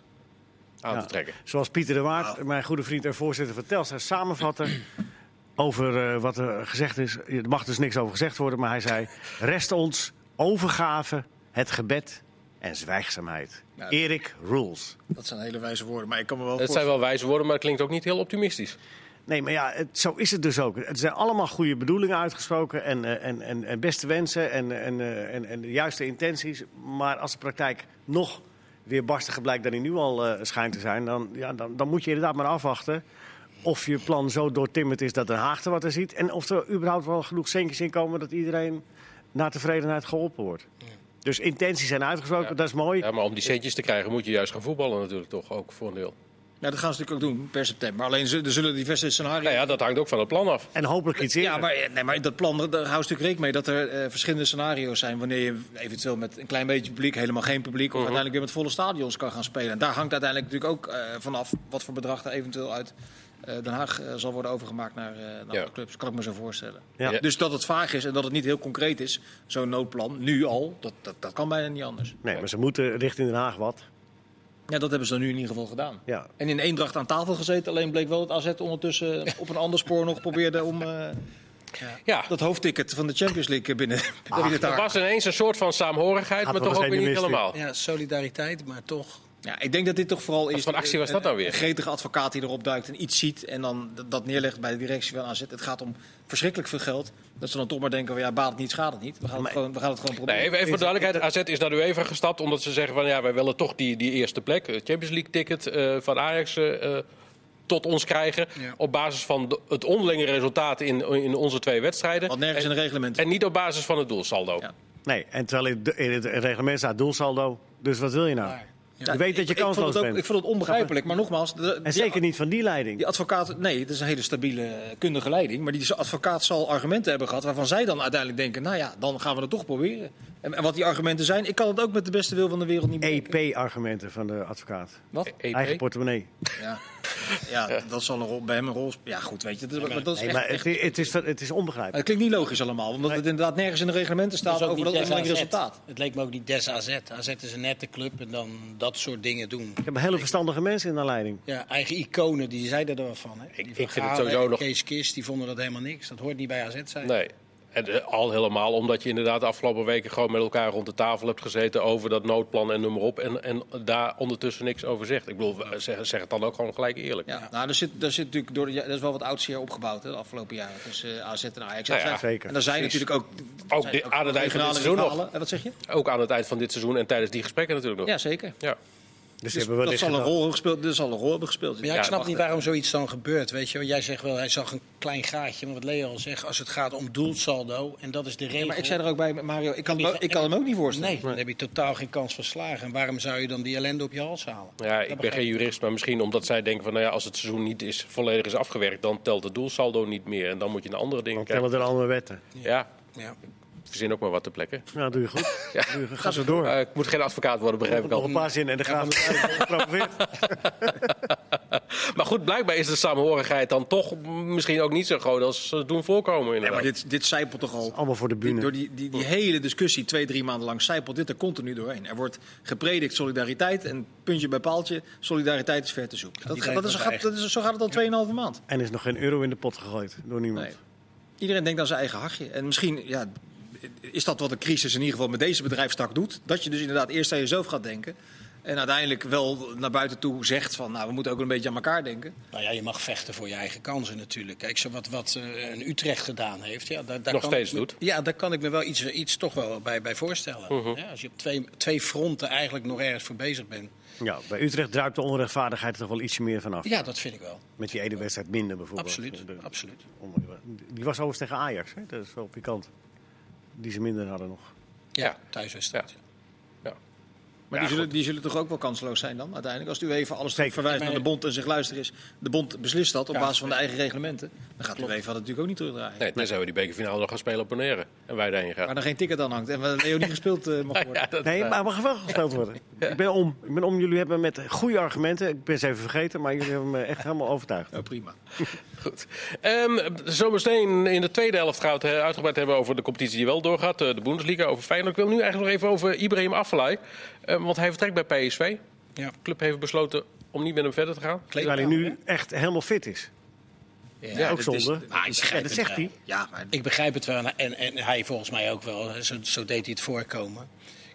[SPEAKER 1] aan
[SPEAKER 2] Ja.
[SPEAKER 1] te trekken.
[SPEAKER 2] Zoals Pieter de Waard, mijn goede vriend en voorzitter van Telstar, samenvatte [clears throat] over eh, wat er gezegd is. Er mag dus niks over gezegd worden, maar hij
[SPEAKER 1] [laughs]
[SPEAKER 2] zei... rest ons overgave, het gebed en zwijgzaamheid.
[SPEAKER 3] Ja.
[SPEAKER 2] Erik rules.
[SPEAKER 3] Dat zijn hele wijze woorden, maar ik kan me wel
[SPEAKER 1] Het zijn wel wijze woorden, maar het klinkt ook niet heel optimistisch.
[SPEAKER 2] Nee, maar ja, het, zo is het dus ook. Het zijn allemaal goede bedoelingen uitgesproken en, eh, en, en, en beste wensen en, en, eh, en, en de juiste intenties. Maar als de praktijk nog weer barstiger blijkt dan die nu al eh, schijnt te zijn, dan, ja, dan, dan moet je inderdaad maar afwachten of je plan zo doortimmerd is dat Den Haag er wat aan ziet. En of er überhaupt wel genoeg centjes in komen dat iedereen naar tevredenheid geholpen wordt. Dus intenties zijn uitgesproken,
[SPEAKER 1] Ja.
[SPEAKER 2] dat is mooi.
[SPEAKER 1] Ja, maar om die centjes te krijgen moet je juist gaan voetballen natuurlijk toch, ook voor een deel.
[SPEAKER 3] Ja, dat gaan ze natuurlijk ook doen per september. Alleen ze- er zullen diverse scenario's.
[SPEAKER 1] Nou ja, dat hangt ook van het plan af.
[SPEAKER 2] En hopelijk iets eerder.
[SPEAKER 3] Ja, maar, eh, nee, maar dat plan, daar houdt natuurlijk rekening mee dat er eh, verschillende scenario's zijn. Wanneer je eventueel met een klein beetje publiek, helemaal geen publiek, of uiteindelijk weer met volle stadions kan gaan spelen. En daar hangt uiteindelijk natuurlijk ook eh, vanaf wat voor bedrag er eventueel uit eh, Den Haag eh, zal worden overgemaakt naar, eh naar
[SPEAKER 1] Ja.
[SPEAKER 3] de clubs. Kan ik me zo voorstellen.
[SPEAKER 2] Ja.
[SPEAKER 1] Ja.
[SPEAKER 3] Dus dat het vaag is en dat het niet heel concreet is, zo'n noodplan, nu al, dat, dat, dat kan bijna niet anders.
[SPEAKER 2] Nee, maar ze moeten richting Den Haag wat.
[SPEAKER 3] Ja, dat hebben ze dan nu in ieder geval gedaan.
[SPEAKER 2] Ja.
[SPEAKER 3] En in Eendracht aan tafel gezeten, alleen bleek wel dat AZ ondertussen op een ander spoor nog probeerde om... eh,
[SPEAKER 1] Ja,
[SPEAKER 3] dat hoofdticket van de Champions League binnen, [laughs] binnen te
[SPEAKER 1] er
[SPEAKER 3] harken.
[SPEAKER 1] was ineens een soort van saamhorigheid,
[SPEAKER 2] Gaat
[SPEAKER 1] maar
[SPEAKER 2] wel
[SPEAKER 1] toch ook
[SPEAKER 2] eens
[SPEAKER 1] weer niet
[SPEAKER 2] heen en mis,
[SPEAKER 1] helemaal.
[SPEAKER 4] Ja, solidariteit, maar toch
[SPEAKER 3] Ja, ik denk dat dit toch vooral is
[SPEAKER 1] voor actie was
[SPEAKER 3] een-
[SPEAKER 1] dat nou weer?
[SPEAKER 3] Een gretige advocaat die erop duikt en iets ziet en dan d- dat neerlegt bij de directie van AZ. Het gaat om verschrikkelijk veel geld. Dat ze dan toch maar denken, van, ja, baat het niet, schaadt het niet. We gaan het, gewoon, we gaan het gewoon
[SPEAKER 1] Nee,
[SPEAKER 3] proberen.
[SPEAKER 1] even, even voor duidelijkheid. AZ is naar de UEFA gestapt omdat ze zeggen van ja, wij willen toch die, die eerste plek. Het Champions League ticket eh, van Ajax eh, eh, tot ons krijgen.
[SPEAKER 4] Ja.
[SPEAKER 1] Op basis van de- het onderlinge resultaat in, in onze twee wedstrijden.
[SPEAKER 3] Want nergens in
[SPEAKER 1] en,
[SPEAKER 3] de reglementen.
[SPEAKER 1] en niet op basis van het doelsaldo.
[SPEAKER 3] Ja.
[SPEAKER 2] Nee, en terwijl in de- in het reglement staat doelsaldo. Dus wat wil je nou?
[SPEAKER 4] Maar, ja.
[SPEAKER 2] Je weet dat je
[SPEAKER 3] Ik- ik, vond
[SPEAKER 2] kansloos
[SPEAKER 3] het ook-
[SPEAKER 2] bent.
[SPEAKER 3] Ik vond het onbegrijpelijk, maar nogmaals... de- die-
[SPEAKER 2] En zeker niet van die leiding.
[SPEAKER 3] Die advocaat, nee, het is een hele stabiele eh, kundige leiding. Maar die advocaat zal argumenten hebben gehad waarvan zij dan uiteindelijk denken... nou ja, dan gaan we het toch proberen. En, en wat die argumenten zijn, ik kan het ook met de beste wil van de wereld niet bedenken.
[SPEAKER 2] EP-argumenten E van de advocaat.
[SPEAKER 3] Wat?
[SPEAKER 1] EP?
[SPEAKER 2] Eigen portemonnee.
[SPEAKER 3] Ja. ja, dat zal een rol, bij hem een rol sp- Ja, goed, weet je. Dat, maar dat is
[SPEAKER 2] Nee,
[SPEAKER 3] echt-
[SPEAKER 2] maar het, het, is, het is onbegrijpelijk.
[SPEAKER 3] het klinkt niet logisch allemaal, omdat het inderdaad nergens in de reglementen
[SPEAKER 4] Dat
[SPEAKER 3] staat
[SPEAKER 4] is ook
[SPEAKER 3] over
[SPEAKER 4] niet
[SPEAKER 3] dat
[SPEAKER 4] des AZ.
[SPEAKER 3] uiteindelijk resultaat.
[SPEAKER 4] Het leek me ook niet des AZ. AZ is een nette club en dan dat soort dingen doen.
[SPEAKER 2] Ik heb hele verstandige mensen in de leiding.
[SPEAKER 3] Dus
[SPEAKER 4] Ja, eigen iconen, die zeiden er wel van. Hè?
[SPEAKER 1] ik
[SPEAKER 4] Die
[SPEAKER 1] vind het
[SPEAKER 4] Gaal
[SPEAKER 1] sowieso
[SPEAKER 4] en
[SPEAKER 1] nog-
[SPEAKER 4] Kees Kist, die vonden dat helemaal niks. Dat hoort niet bij AZ zijn.
[SPEAKER 1] Nee. En eh, al helemaal omdat je inderdaad de afgelopen weken gewoon met elkaar rond de tafel hebt gezeten over dat noodplan en noem maar op. En, en daar ondertussen niks over zegt. Ik bedoel, eh, zeg, zeg het dan ook gewoon gelijk eerlijk.
[SPEAKER 3] Ja, nou, daar zit, daar zit natuurlijk door, de- ja, er is wel wat oudsher opgebouwd hè, de afgelopen jaren tussen eh, AZ en Ajax.
[SPEAKER 1] Nou ja,
[SPEAKER 3] En daar zijn-
[SPEAKER 2] zeker.
[SPEAKER 3] En daar zijn
[SPEAKER 1] Precies.
[SPEAKER 3] natuurlijk ook,
[SPEAKER 1] Ook
[SPEAKER 3] zijn
[SPEAKER 1] de- aan het eind van dit
[SPEAKER 3] regionale
[SPEAKER 1] seizoen nog.
[SPEAKER 3] rivalen. En wat zeg je?
[SPEAKER 1] Ook aan het eind van dit seizoen en tijdens die gesprekken natuurlijk nog.
[SPEAKER 3] Ja, zeker.
[SPEAKER 1] Ja.
[SPEAKER 2] Dus,
[SPEAKER 3] Dus
[SPEAKER 2] die hebben
[SPEAKER 3] dat
[SPEAKER 2] wellicht
[SPEAKER 3] zal een
[SPEAKER 2] gedacht-
[SPEAKER 3] rol hebben gespeeld. Dat zal een rol hebben gespeeld.
[SPEAKER 4] Maar ja, ik
[SPEAKER 1] Ja,
[SPEAKER 4] snap
[SPEAKER 1] wacht
[SPEAKER 4] niet waarom zoiets dan gebeurt. Weet je? wel. Jij zegt wel, hij zag een klein gaatje. Maar wat Leo al zegt, als het gaat om doelsaldo, en dat is de regel.
[SPEAKER 3] maar ik zei er ook bij Mario, ik kan,
[SPEAKER 4] Die
[SPEAKER 3] me-
[SPEAKER 4] ga-
[SPEAKER 3] ik kan hem ook niet voorstellen.
[SPEAKER 4] Nee, dan heb je totaal geen kans van slagen. En waarom zou je dan die ellende op je hals halen?
[SPEAKER 1] Ja, ik ben geen jurist, maar misschien omdat zij denken van nou ja, als het seizoen niet is, volledig is afgewerkt, dan telt het doelsaldo niet meer. En dan moet je naar andere dingen
[SPEAKER 2] Dan
[SPEAKER 1] kijken.
[SPEAKER 2] tellen er andere wetten.
[SPEAKER 1] Ja,
[SPEAKER 4] Ja.
[SPEAKER 1] verzin ook maar wat te plekken.
[SPEAKER 2] Nou, doe je goed.
[SPEAKER 1] Ja.
[SPEAKER 2] Doe je, ga zo door.
[SPEAKER 1] Eh, ik moet geen advocaat worden, begrijp ik
[SPEAKER 2] Nog
[SPEAKER 1] al. [laughs]
[SPEAKER 2] een paar zinnen en dan gaan we gepromoveerd.
[SPEAKER 1] Maar goed, blijkbaar is de samenhorigheid dan toch misschien ook niet zo groot als ze doen voorkomen.
[SPEAKER 3] Nee, maar
[SPEAKER 1] Inderdaad.
[SPEAKER 3] dit, dit zijpelt toch al.
[SPEAKER 2] Allemaal voor de bühne.
[SPEAKER 3] Dit- Door die, die, die hele discussie, twee, drie maanden lang, zijpelt dit er continu doorheen. Er wordt gepredikt solidariteit en puntje bij paaltje, solidariteit is ver te zoeken. Dat,
[SPEAKER 4] die
[SPEAKER 3] gaat-
[SPEAKER 4] zijn
[SPEAKER 3] dat is,
[SPEAKER 4] wel
[SPEAKER 3] gaat,
[SPEAKER 4] echt.
[SPEAKER 3] dat is, zo gaat het al 2,5 maand.
[SPEAKER 2] En er is nog geen euro in de pot gegooid door niemand.
[SPEAKER 3] Nee. Iedereen denkt aan zijn eigen hachje. En misschien ja, is dat wat de crisis in ieder geval met deze bedrijfstak doet. Dat je dus inderdaad eerst aan jezelf gaat denken. En uiteindelijk wel naar buiten toe zegt van, nou, we moeten ook een beetje aan elkaar denken.
[SPEAKER 4] Nou ja, je mag vechten voor je eigen kansen natuurlijk. Kijk, zo wat, wat eh, een Utrecht gedaan heeft. Ja, daar, daar
[SPEAKER 1] Nog
[SPEAKER 4] kan
[SPEAKER 1] steeds
[SPEAKER 4] ik me-
[SPEAKER 1] doet. Mhm.
[SPEAKER 4] Ja, daar kan ik me wel iets, eh, iets toch wel bij, bij voorstellen. Ja, als je op twee, twee fronten eigenlijk nog ergens voor bezig bent.
[SPEAKER 2] Ja, bij Utrecht druipt de onrechtvaardigheid er toch wel ietsje meer vanaf.
[SPEAKER 4] Ja, dat vind ik wel.
[SPEAKER 2] Met die ene wedstrijd minder bijvoorbeeld.
[SPEAKER 4] Absoluut.
[SPEAKER 2] De-
[SPEAKER 4] absoluut.
[SPEAKER 2] om- Die was overigens tegen Ajax, hè? dat is wel pikant. Die ze minder hadden nog.
[SPEAKER 4] Ja,
[SPEAKER 1] Ja.
[SPEAKER 4] thuiswedstrijd.
[SPEAKER 1] Ja.
[SPEAKER 4] Ja.
[SPEAKER 3] Maar
[SPEAKER 1] Ja,
[SPEAKER 3] die, zullen, die zullen toch ook wel kansloos zijn dan, uiteindelijk? Als u even alles
[SPEAKER 2] Zeker.
[SPEAKER 3] verwijst
[SPEAKER 4] Maar-
[SPEAKER 3] naar de bond en zich luister is. De bond beslist dat op
[SPEAKER 4] Ja,
[SPEAKER 3] basis van de eigen reglementen. Dan gaat u even dat natuurlijk ook niet terugdraaien.
[SPEAKER 1] Nee, tenzij we die bekerfinale nog gaan spelen op Bonaire. En wij daarheen gaan.
[SPEAKER 3] Waar dan geen ticket aan hangt en waar Leo niet gespeeld eh, mag worden.
[SPEAKER 1] Ja, dat-
[SPEAKER 2] Nee, maar mag wel gespeeld worden. Ik ben om. Ik ben om. Jullie hebben met goede argumenten. Ik ben ze even vergeten, maar jullie hebben me echt helemaal overtuigd.
[SPEAKER 3] Oh, prima.
[SPEAKER 1] Goed. Ehm, zometeen in de tweede helft gaan we het eh, uitgebreid hebben over de competitie die wel doorgaat. eh, De Bundesliga, over Feyenoord. Ik wil nu eigenlijk nog even over Ibrahim Afellay. eh, want hij vertrekt bij PSV.
[SPEAKER 4] Ja.
[SPEAKER 1] De club heeft besloten om niet met hem verder te gaan.
[SPEAKER 2] Terwijl hij nu echt helemaal fit is.
[SPEAKER 3] Ja,
[SPEAKER 2] ook
[SPEAKER 3] dat is-
[SPEAKER 2] zonde.
[SPEAKER 3] maar ik
[SPEAKER 2] Ja,
[SPEAKER 3] begrijp
[SPEAKER 2] dat
[SPEAKER 3] het.
[SPEAKER 2] zegt hij.
[SPEAKER 3] Ja, maar
[SPEAKER 4] Ik begrijp het wel. En, en hij volgens mij ook wel. Zo, zo deed hij het voorkomen.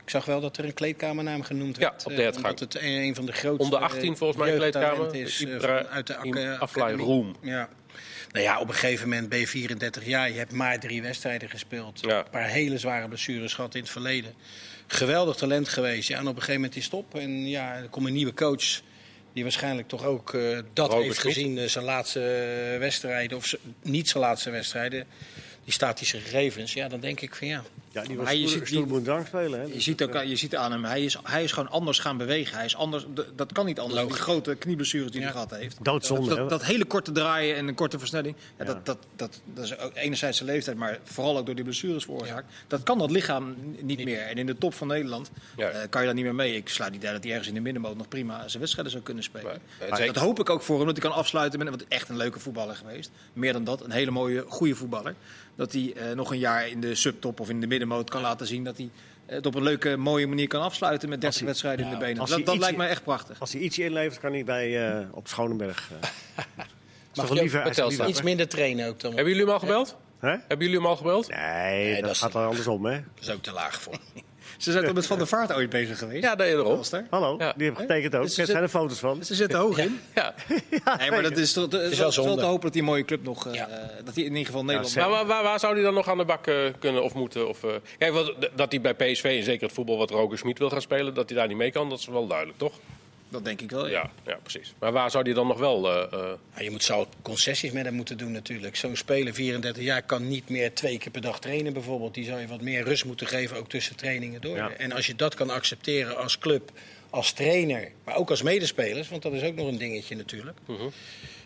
[SPEAKER 4] Ik zag wel dat er een kleedkamernaam genoemd
[SPEAKER 1] Ja,
[SPEAKER 4] werd.
[SPEAKER 1] op de
[SPEAKER 4] eh,
[SPEAKER 1] hertgang.
[SPEAKER 4] Omdat het een, een van de grootste
[SPEAKER 1] Onder 18 volgens mij een
[SPEAKER 4] jeugdtalenten
[SPEAKER 1] kleedkamer.
[SPEAKER 4] Is, eh,
[SPEAKER 1] Ibra-
[SPEAKER 4] vanuit de
[SPEAKER 1] Im-
[SPEAKER 4] aca-
[SPEAKER 1] Aflaai
[SPEAKER 4] academie.
[SPEAKER 1] Roem.
[SPEAKER 4] Ja. Nou ja, op een gegeven moment ben je 34 jaar. Je hebt maar drie wedstrijden gespeeld.
[SPEAKER 1] Ja.
[SPEAKER 4] Een paar hele zware blessures gehad in het verleden. Geweldig talent geweest. Ja, en op een gegeven moment is het op. En ja, er komt een nieuwe coach. Die waarschijnlijk toch ook eh, dat
[SPEAKER 1] Robert
[SPEAKER 4] heeft
[SPEAKER 1] Smit.
[SPEAKER 4] gezien. eh, zijn laatste eh, wedstrijden. Of z- niet zijn laatste wedstrijden. Die statische gegevens. Ja, dan denk ik van ja.
[SPEAKER 2] Ja, die
[SPEAKER 3] Maar
[SPEAKER 2] was
[SPEAKER 3] je
[SPEAKER 2] stoer-
[SPEAKER 3] ziet die-
[SPEAKER 2] stoerboer drank spelen. Hè?
[SPEAKER 3] Je ziet, ook, aan- je ziet aan hem, hij is, hij is gewoon anders gaan bewegen. Hij is anders, d- dat kan niet anders. Die
[SPEAKER 4] Logisch.
[SPEAKER 3] grote knieblessures die hij
[SPEAKER 4] Ja.
[SPEAKER 3] gehad heeft.
[SPEAKER 2] Doodzonde, hè?
[SPEAKER 3] Dat, dat hele korte draaien en een korte versnelling. Ja,
[SPEAKER 2] Ja.
[SPEAKER 3] Dat, dat, dat, dat is ook enerzijds zijn leeftijd, maar vooral ook door die blessures veroorzaakt. Dat kan dat lichaam n- niet meer. En in de top van Nederland
[SPEAKER 1] Ja.
[SPEAKER 3] eh, kan je daar niet meer mee. Ik sluit niet uit dat hij ergens in de middenmoot nog prima zijn wedstrijden zou kunnen spelen.
[SPEAKER 1] Maar, eh,
[SPEAKER 3] Maar
[SPEAKER 1] zeker.
[SPEAKER 3] dat hoop ik ook voor hem, dat hij kan afsluiten. Met, want echt een leuke voetballer geweest. Meer dan dat, een hele mooie, goede voetballer. Dat hij eh, nog een jaar in de subtop of in de middenmoot kan laten zien dat hij het op een leuke, mooie manier kan afsluiten met 30 wedstrijden in de benen.
[SPEAKER 2] als
[SPEAKER 3] Dat,
[SPEAKER 2] hij
[SPEAKER 3] dat
[SPEAKER 2] iets-
[SPEAKER 3] lijkt mij echt prachtig.
[SPEAKER 2] Als hij ietsje inlevert, kan hij bij, eh, op Schonenberg. eh.
[SPEAKER 4] Mag
[SPEAKER 2] toch
[SPEAKER 4] je
[SPEAKER 2] liever-
[SPEAKER 4] ook
[SPEAKER 2] hij is
[SPEAKER 1] Telstra.
[SPEAKER 2] liever-
[SPEAKER 4] iets minder trainen ook dan.
[SPEAKER 1] Hebben jullie hem al gebeld?
[SPEAKER 2] Hè?
[SPEAKER 1] Hebben jullie hem al gebeld?
[SPEAKER 2] Nee,
[SPEAKER 4] dat
[SPEAKER 2] dat
[SPEAKER 4] is-
[SPEAKER 2] gaat wel andersom, hè?
[SPEAKER 4] Dat is ook te laag voor.
[SPEAKER 3] Ze zijn toch met Van der Vaart ooit bezig geweest?
[SPEAKER 1] Ja, daarom.
[SPEAKER 3] Elster?
[SPEAKER 2] Hallo,
[SPEAKER 1] Ja.
[SPEAKER 2] die heb ik getekend ook.
[SPEAKER 3] Dus ze
[SPEAKER 2] Daar zijn
[SPEAKER 3] zit-
[SPEAKER 2] er foto's van.
[SPEAKER 3] Ze zitten hoog in.
[SPEAKER 1] Ja.
[SPEAKER 3] Nee, maar dat is toch dat is
[SPEAKER 4] wel
[SPEAKER 3] wel te
[SPEAKER 4] zonde.
[SPEAKER 3] hopen dat die mooie club nog... eh,
[SPEAKER 4] Ja.
[SPEAKER 3] dat die in ieder geval Nederland...
[SPEAKER 2] zeker.
[SPEAKER 1] Maar waar, waar, waar zou hij dan nog aan de bak eh, kunnen of moeten? Of, eh, kijk, wat, dat hij bij PSV, en zeker het voetbal wat Roger Smit wil gaan spelen, dat hij daar niet mee kan, dat is wel duidelijk, toch?
[SPEAKER 3] dat denk ik wel, ja.
[SPEAKER 1] Ja, ja precies. Maar waar zou hij dan nog wel... eh, eh,
[SPEAKER 4] Ja, je moet zou concessies met hem moeten doen natuurlijk. Zo'n speler, 34 jaar, kan niet meer twee keer per dag trainen bijvoorbeeld. Die zou je wat meer rust moeten geven, ook tussen trainingen door.
[SPEAKER 2] Ja.
[SPEAKER 4] En als je dat kan accepteren als club, als trainer, maar ook als medespelers... want dat is ook nog een dingetje natuurlijk.
[SPEAKER 2] Mhm.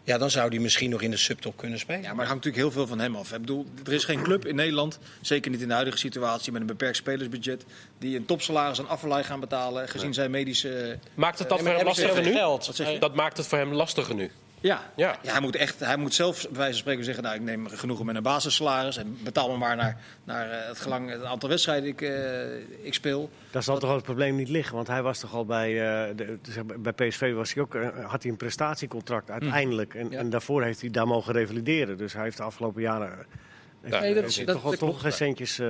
[SPEAKER 4] Ja, dan zou die misschien nog in de subtop kunnen spelen.
[SPEAKER 3] Ja, maar het hangt natuurlijk heel veel van hem af. Ik bedoel, er is geen club in Nederland, zeker niet in de huidige situatie met een beperkt spelersbudget, die een topsalaris aan afvallei gaan betalen, gezien zijn medische... eh,
[SPEAKER 1] maakt het dat
[SPEAKER 4] Nee,
[SPEAKER 1] voor
[SPEAKER 4] Eh,
[SPEAKER 1] hem
[SPEAKER 4] maar hebben ze
[SPEAKER 1] lastiger
[SPEAKER 4] geen
[SPEAKER 1] nu?
[SPEAKER 4] geld?
[SPEAKER 1] Wat zeg je? Dat maakt het voor hem lastiger nu.
[SPEAKER 3] Ja.
[SPEAKER 1] Ja.
[SPEAKER 3] Ja. hij, moet echt, hij moet zelf bij wijze van spreken zeggen, nou ik neem genoegen met een basissalaris en betaal me maar naar, naar eh, het gelang, het aantal wedstrijden ik, eh, ik speel.
[SPEAKER 2] Daar zal toch ook het probleem niet liggen. Want hij was toch al bij, eh, de, zeg maar, bij PSV was hij ook, eh, had hij een prestatiecontract
[SPEAKER 4] Mm.
[SPEAKER 2] uiteindelijk. En,
[SPEAKER 3] Ja.
[SPEAKER 2] en daarvoor heeft hij daar mogen revalideren. Dus hij heeft de afgelopen jaren eh,
[SPEAKER 1] Ja. Nee,
[SPEAKER 3] dat-
[SPEAKER 2] heeft hij
[SPEAKER 3] dat-
[SPEAKER 2] toch, wel
[SPEAKER 3] dat
[SPEAKER 2] toch
[SPEAKER 3] klopt.
[SPEAKER 2] geen centjes eh,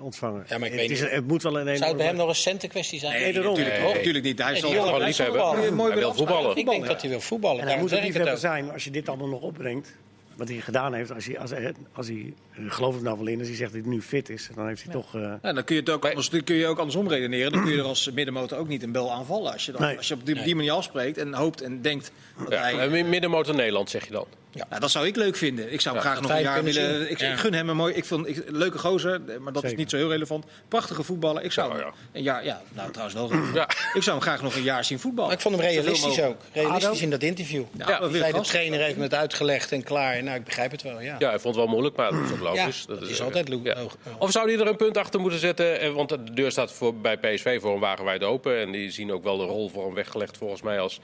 [SPEAKER 2] ontvangen.
[SPEAKER 4] Ja, maar ik
[SPEAKER 2] het,
[SPEAKER 4] weet
[SPEAKER 2] is-
[SPEAKER 4] niet.
[SPEAKER 2] het moet wel een
[SPEAKER 4] Zou het
[SPEAKER 2] enorme...
[SPEAKER 4] bij hem nog een centenkwestie zijn?
[SPEAKER 2] Nee, daarom.
[SPEAKER 3] natuurlijk,
[SPEAKER 1] Nee.
[SPEAKER 3] natuurlijk niet. Hij
[SPEAKER 4] Nee,
[SPEAKER 3] zal
[SPEAKER 4] die jongen
[SPEAKER 1] Gewoon
[SPEAKER 4] blijft
[SPEAKER 1] liefhebber.
[SPEAKER 4] voetballen.
[SPEAKER 1] Hij
[SPEAKER 3] weer
[SPEAKER 1] wil
[SPEAKER 3] afstaan.
[SPEAKER 1] voetballen.
[SPEAKER 4] Ik denk dat hij wil voetballen.
[SPEAKER 2] En hij
[SPEAKER 4] Daarom
[SPEAKER 2] moet er
[SPEAKER 4] zeg ik het
[SPEAKER 2] liefhebber
[SPEAKER 4] ook.
[SPEAKER 2] zijn als je dit allemaal nog opbrengt. Wat hij gedaan heeft, als hij, als, hij- als hij, ik geloof het nou wel in, als hij zegt dat hij nu fit is, dan heeft hij toch... eh,
[SPEAKER 3] Ja, dan kun je het ook, anders, dan kun je ook andersom redeneren. Dan kun je er als middenmotor ook niet een bel aanvallen. Als je, dan,
[SPEAKER 2] Nee.
[SPEAKER 3] als je op die, die manier afspreekt en hoopt en denkt dat
[SPEAKER 1] Ja.
[SPEAKER 3] hij...
[SPEAKER 1] en mi- Middenmotor Nederland, zeg je dan.
[SPEAKER 3] Nou, dat zou ik leuk vinden. Ik zou hem graag
[SPEAKER 4] dat
[SPEAKER 3] nog een
[SPEAKER 4] wij
[SPEAKER 3] jaar
[SPEAKER 4] hem kunnen
[SPEAKER 3] willen.
[SPEAKER 4] zien.
[SPEAKER 3] Ik,
[SPEAKER 4] Ja.
[SPEAKER 3] ik gun hem een mooi. Ik vond ik, leuke gozer, eh, maar dat
[SPEAKER 2] Zeker.
[SPEAKER 3] is niet zo heel relevant. Prachtige voetballer. Ik zou
[SPEAKER 1] Nou,
[SPEAKER 3] hem
[SPEAKER 1] ja.
[SPEAKER 3] een jaar. Ja, nou
[SPEAKER 4] [clears throat]
[SPEAKER 3] trouwens wel. goed.
[SPEAKER 1] Ja.
[SPEAKER 3] Ik zou hem graag nog een jaar zien voetballen.
[SPEAKER 4] Maar ik vond hem
[SPEAKER 3] Zoveel
[SPEAKER 4] realistisch
[SPEAKER 3] mogelijk.
[SPEAKER 4] ook. Realistisch
[SPEAKER 2] Ado?
[SPEAKER 4] in dat interview.
[SPEAKER 3] Ja,
[SPEAKER 1] Ja,
[SPEAKER 3] maar
[SPEAKER 4] Die
[SPEAKER 3] weer
[SPEAKER 4] zei, de
[SPEAKER 3] gast.
[SPEAKER 4] trainer heeft me het uitgelegd en klaar. Nou, ik begrijp het wel, ja.
[SPEAKER 1] Ja, hij vond het wel moeilijk, maar dat is ook logisch.
[SPEAKER 4] Ja, dat is altijd lo-
[SPEAKER 1] ja.
[SPEAKER 4] logisch.
[SPEAKER 1] Of zou hij er een punt achter moeten zetten? Eh, Want de deur staat voor, bij PSV voor een wagenwijd open. En die zien ook wel de rol voor hem weggelegd, volgens mij, als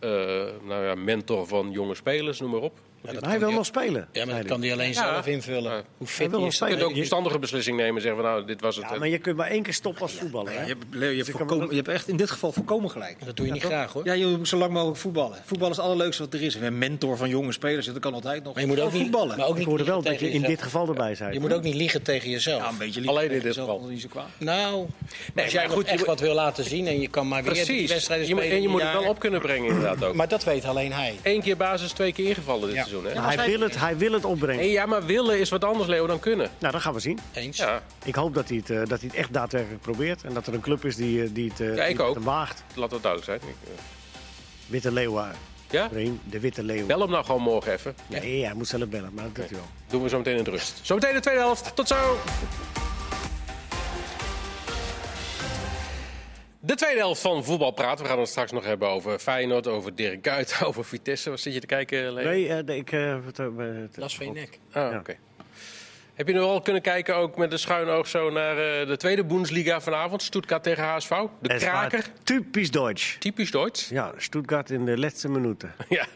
[SPEAKER 1] eh, nou ja, mentor van jonge spelers, noem maar op.
[SPEAKER 2] maar hij wil nog spelen.
[SPEAKER 4] Ja, maar
[SPEAKER 2] zei
[SPEAKER 4] dat
[SPEAKER 2] hij.
[SPEAKER 4] kan hij alleen zelf invullen.
[SPEAKER 1] Ja.
[SPEAKER 4] Hoe
[SPEAKER 2] Hij
[SPEAKER 4] fit
[SPEAKER 2] wil
[SPEAKER 4] hij
[SPEAKER 2] nog
[SPEAKER 4] is. dat?
[SPEAKER 1] Je kunt ook
[SPEAKER 2] spelen.
[SPEAKER 1] een verstandige beslissing nemen en zeggen: van, Nou, dit was het.
[SPEAKER 2] Ja, maar je kunt maar één keer stoppen als voetballer.
[SPEAKER 3] Ja,
[SPEAKER 2] hè?
[SPEAKER 3] je, hebt,
[SPEAKER 4] Dus
[SPEAKER 3] Leo, je, hebt
[SPEAKER 2] kan
[SPEAKER 3] volkomen-
[SPEAKER 2] wel-
[SPEAKER 3] je hebt echt in dit geval volkomen gelijk.
[SPEAKER 4] Dat doe je niet graag, hoor.
[SPEAKER 3] Ja, je moet zo lang mogelijk voetballen. Voetballen is het allerleukste wat er is. Een mentor van jonge spelers, dat kan altijd nog.
[SPEAKER 4] Maar je moet ook
[SPEAKER 3] Gewoon
[SPEAKER 4] niet,
[SPEAKER 3] voetballen.
[SPEAKER 4] Maar ook
[SPEAKER 2] Ik
[SPEAKER 4] niet
[SPEAKER 2] hoorde wel
[SPEAKER 4] liegen
[SPEAKER 2] dat je in
[SPEAKER 4] tegen
[SPEAKER 2] dit
[SPEAKER 4] jezelf.
[SPEAKER 2] geval erbij zei.
[SPEAKER 4] Je moet ook niet liegen tegen jezelf.
[SPEAKER 3] ja, een beetje lief.
[SPEAKER 1] Alleen in dit
[SPEAKER 3] Jezelf
[SPEAKER 1] geval.
[SPEAKER 3] nog niet zo kwaad.
[SPEAKER 4] Nou, als jij
[SPEAKER 1] maar goed,
[SPEAKER 4] goed,
[SPEAKER 1] je
[SPEAKER 4] echt
[SPEAKER 1] moet-
[SPEAKER 4] wat wil laten zien en je kan maar weer die
[SPEAKER 1] Precies.
[SPEAKER 4] wedstrijden
[SPEAKER 1] Je moet-
[SPEAKER 4] spelen.
[SPEAKER 1] en je
[SPEAKER 4] in
[SPEAKER 1] moet
[SPEAKER 4] een
[SPEAKER 1] het wel
[SPEAKER 4] jaar.
[SPEAKER 1] op kunnen brengen, inderdaad ook.
[SPEAKER 4] Maar dat weet alleen hij.
[SPEAKER 1] Eén keer basis, twee keer ingevallen dit
[SPEAKER 4] Ja.
[SPEAKER 1] seizoen. Hè?
[SPEAKER 2] Maar hij, wil het, hij wil het opbrengen.
[SPEAKER 1] Nee, ja, maar willen is wat anders, Leo, dan kunnen.
[SPEAKER 2] Nou, dat gaan we zien.
[SPEAKER 4] Eens.
[SPEAKER 1] Ja,
[SPEAKER 2] Ik hoop dat hij het, eh, dat hij het echt daadwerkelijk probeert. En dat er een club is die, eh, die het, eh,
[SPEAKER 1] Ja, ik
[SPEAKER 2] die het
[SPEAKER 1] ook.
[SPEAKER 2] hem waagt.
[SPEAKER 1] laat dat duidelijk zijn. Ik, eh,
[SPEAKER 2] Witte Leeuwen.
[SPEAKER 1] Ja?
[SPEAKER 2] Breen, de Witte Leeuw.
[SPEAKER 1] Bel hem nou gewoon morgen even.
[SPEAKER 2] Nee, hij moet zelf bellen, maar dat doet hij wel.
[SPEAKER 1] Doen we zo meteen in de rust. Zometeen de tweede helft. Tot zo! De tweede helft van Voetbal Praten. We gaan het straks nog hebben over Feyenoord, over Dirk Kuyt, [laughs] over Vitesse. Wat zit je te kijken, Leo?
[SPEAKER 2] Nee, eh, nee, ik... eh, wat, eh, wat-
[SPEAKER 4] Dat is van je nek.
[SPEAKER 1] Ah, oké.
[SPEAKER 2] Ja.
[SPEAKER 1] Heb je nu al kunnen kijken, ook met een schuin oog, zo naar eh, de tweede Bundesliga vanavond? Stuttgart tegen HSV. De
[SPEAKER 2] Het
[SPEAKER 1] kraker.
[SPEAKER 2] was Typisch Duits.
[SPEAKER 1] Typisch Duits. [laughs]
[SPEAKER 2] Ja, Stuttgart in de laatste minuten.
[SPEAKER 1] ja,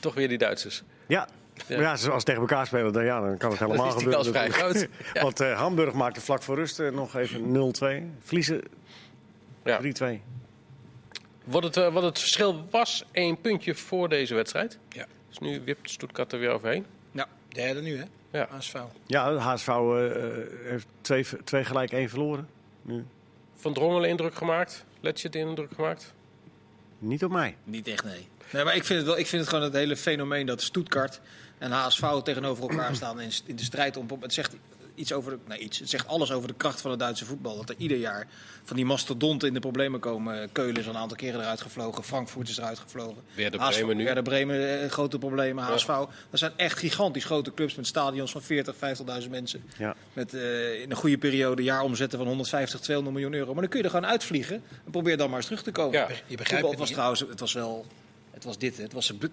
[SPEAKER 1] toch weer die Duitsers.
[SPEAKER 2] Ja. Ja. zoals tegen elkaar spelen, dan, ja, dan kan het helemaal
[SPEAKER 1] is die
[SPEAKER 2] gebeuren.
[SPEAKER 1] kans vrij
[SPEAKER 2] natuurlijk. [laughs]
[SPEAKER 1] groot. Ja.
[SPEAKER 2] Want eh, Hamburg maakte vlak voor rust eh, nog even 0-2. Vliezen 3-2.
[SPEAKER 1] Ja. Wat, het, eh, wat het verschil was, één puntje voor deze wedstrijd.
[SPEAKER 4] Ja.
[SPEAKER 1] Dus nu wipt Stuttgart er weer overheen.
[SPEAKER 3] Ja.
[SPEAKER 4] Derde nu, hè?
[SPEAKER 1] Ja.
[SPEAKER 3] Ah,
[SPEAKER 4] ASV.
[SPEAKER 2] Ja, HSV eh, heeft twee, twee gelijk, één verloren. Nu.
[SPEAKER 1] Van Drongelen indruk gemaakt. Letchet indruk gemaakt.
[SPEAKER 2] Niet op mij.
[SPEAKER 3] Niet echt, nee. Nee, maar ik vind het, wel, ik vind het gewoon het hele fenomeen dat Stuttgart en HSV tegenover elkaar staan in, in de strijd om. Het zegt iets over, de- nou iets, het zegt alles over de kracht van het Duitse voetbal. Dat er ieder jaar van die mastodonten in de problemen komen. Eh, Keulen is al een aantal keren eruit gevlogen, Frankfurt is eruit gevlogen.
[SPEAKER 1] Werder
[SPEAKER 3] HSV
[SPEAKER 1] Bremen nu.
[SPEAKER 3] Werder Bremen, eh, grote problemen. HSV, dat zijn echt gigantisch grote clubs met stadions van 40, 50.000 mensen.
[SPEAKER 2] Ja.
[SPEAKER 3] Met eh, in een goede periode jaaromzetten van 150, 200 miljoen euro. Maar dan kun je er gewoon uitvliegen en probeer dan maar eens terug te komen.
[SPEAKER 1] Ja.
[SPEAKER 4] Je begrijpt
[SPEAKER 3] Voetbal
[SPEAKER 4] het
[SPEAKER 3] was
[SPEAKER 4] niet.
[SPEAKER 3] trouwens, Oh, het was wel, het was dit, hè. het was een bu-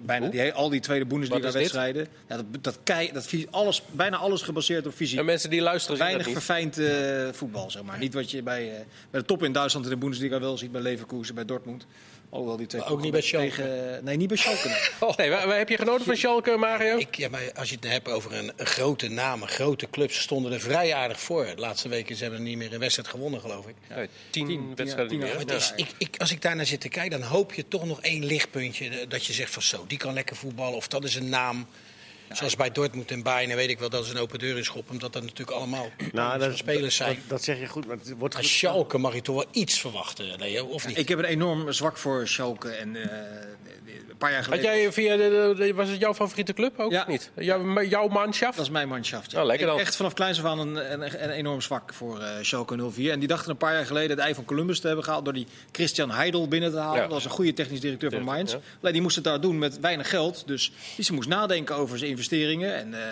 [SPEAKER 3] bijna die, he- al die tweede Bundesliga-wedstrijden. Ja, dat, dat, kei, dat vi- alles, bijna alles gebaseerd op fysiek.
[SPEAKER 1] En mensen die luisteren zien dat
[SPEAKER 3] Weinig
[SPEAKER 1] niet.
[SPEAKER 3] verfijnd eh, voetbal, zeg maar. Niet wat je bij, eh, bij de top in Duitsland in de Bundesliga wel ziet bij Leverkusen, bij Dortmund. Alhoewel die twee
[SPEAKER 4] Maar ook niet
[SPEAKER 3] ploegen
[SPEAKER 4] bij
[SPEAKER 3] tegen, Nee, niet bij Schalke. nee.
[SPEAKER 1] Nee, waar, waar heb je genoten van Schalke, Mario?
[SPEAKER 4] Ik, ja, maar als je het hebt over een, een grote naam, een grote club, ze stonden er vrij aardig voor. De laatste weken ze hebben niet meer een wedstrijd gewonnen, geloof ik.
[SPEAKER 1] Nee, tien,
[SPEAKER 3] tien,
[SPEAKER 1] wedstrijden
[SPEAKER 3] tien,
[SPEAKER 1] niet
[SPEAKER 3] ja,
[SPEAKER 1] meer.
[SPEAKER 4] Maar het is, ik, ik, als ik daarnaar zit te kijken, dan hoop je toch nog één lichtpuntje. eh, Dat je zegt van zo, die kan lekker voetballen. Of dat is een naam. Zoals bij Dortmund en Bayern weet ik wel dat is een open deur in schop. Omdat dat natuurlijk allemaal
[SPEAKER 1] [clears throat]
[SPEAKER 2] Nou,
[SPEAKER 4] zo'n spelers zijn.
[SPEAKER 2] Dat, dat zeg je goed, maar het wordt
[SPEAKER 4] Als Schalke mag je toch wel iets verwachten, Leo, of niet?
[SPEAKER 3] Ik heb een enorm zwak voor Schalke. En eh, een paar jaar
[SPEAKER 1] Had
[SPEAKER 3] geleden...
[SPEAKER 1] jij via de, de- was het jouw favoriete club ook
[SPEAKER 3] Ja.
[SPEAKER 1] of niet? Jouw, jouw manschaft?
[SPEAKER 3] Dat is mijn
[SPEAKER 1] Oh,
[SPEAKER 3] manschaft.
[SPEAKER 1] lekker
[SPEAKER 3] Ik heb
[SPEAKER 1] dan.
[SPEAKER 3] echt vanaf kleins af aan een, een, een enorm zwak voor eh Schalke 04. En die dachten een paar jaar geleden het ei van Columbus te hebben gehaald... door die Christian Heidel binnen te halen.
[SPEAKER 1] Ja.
[SPEAKER 3] Dat was een goede technisch directeur van Mainz.
[SPEAKER 1] ja.
[SPEAKER 3] Alleen die moest het daar doen met weinig geld. Dus die ze moest nadenken over zijn investeringen en eh,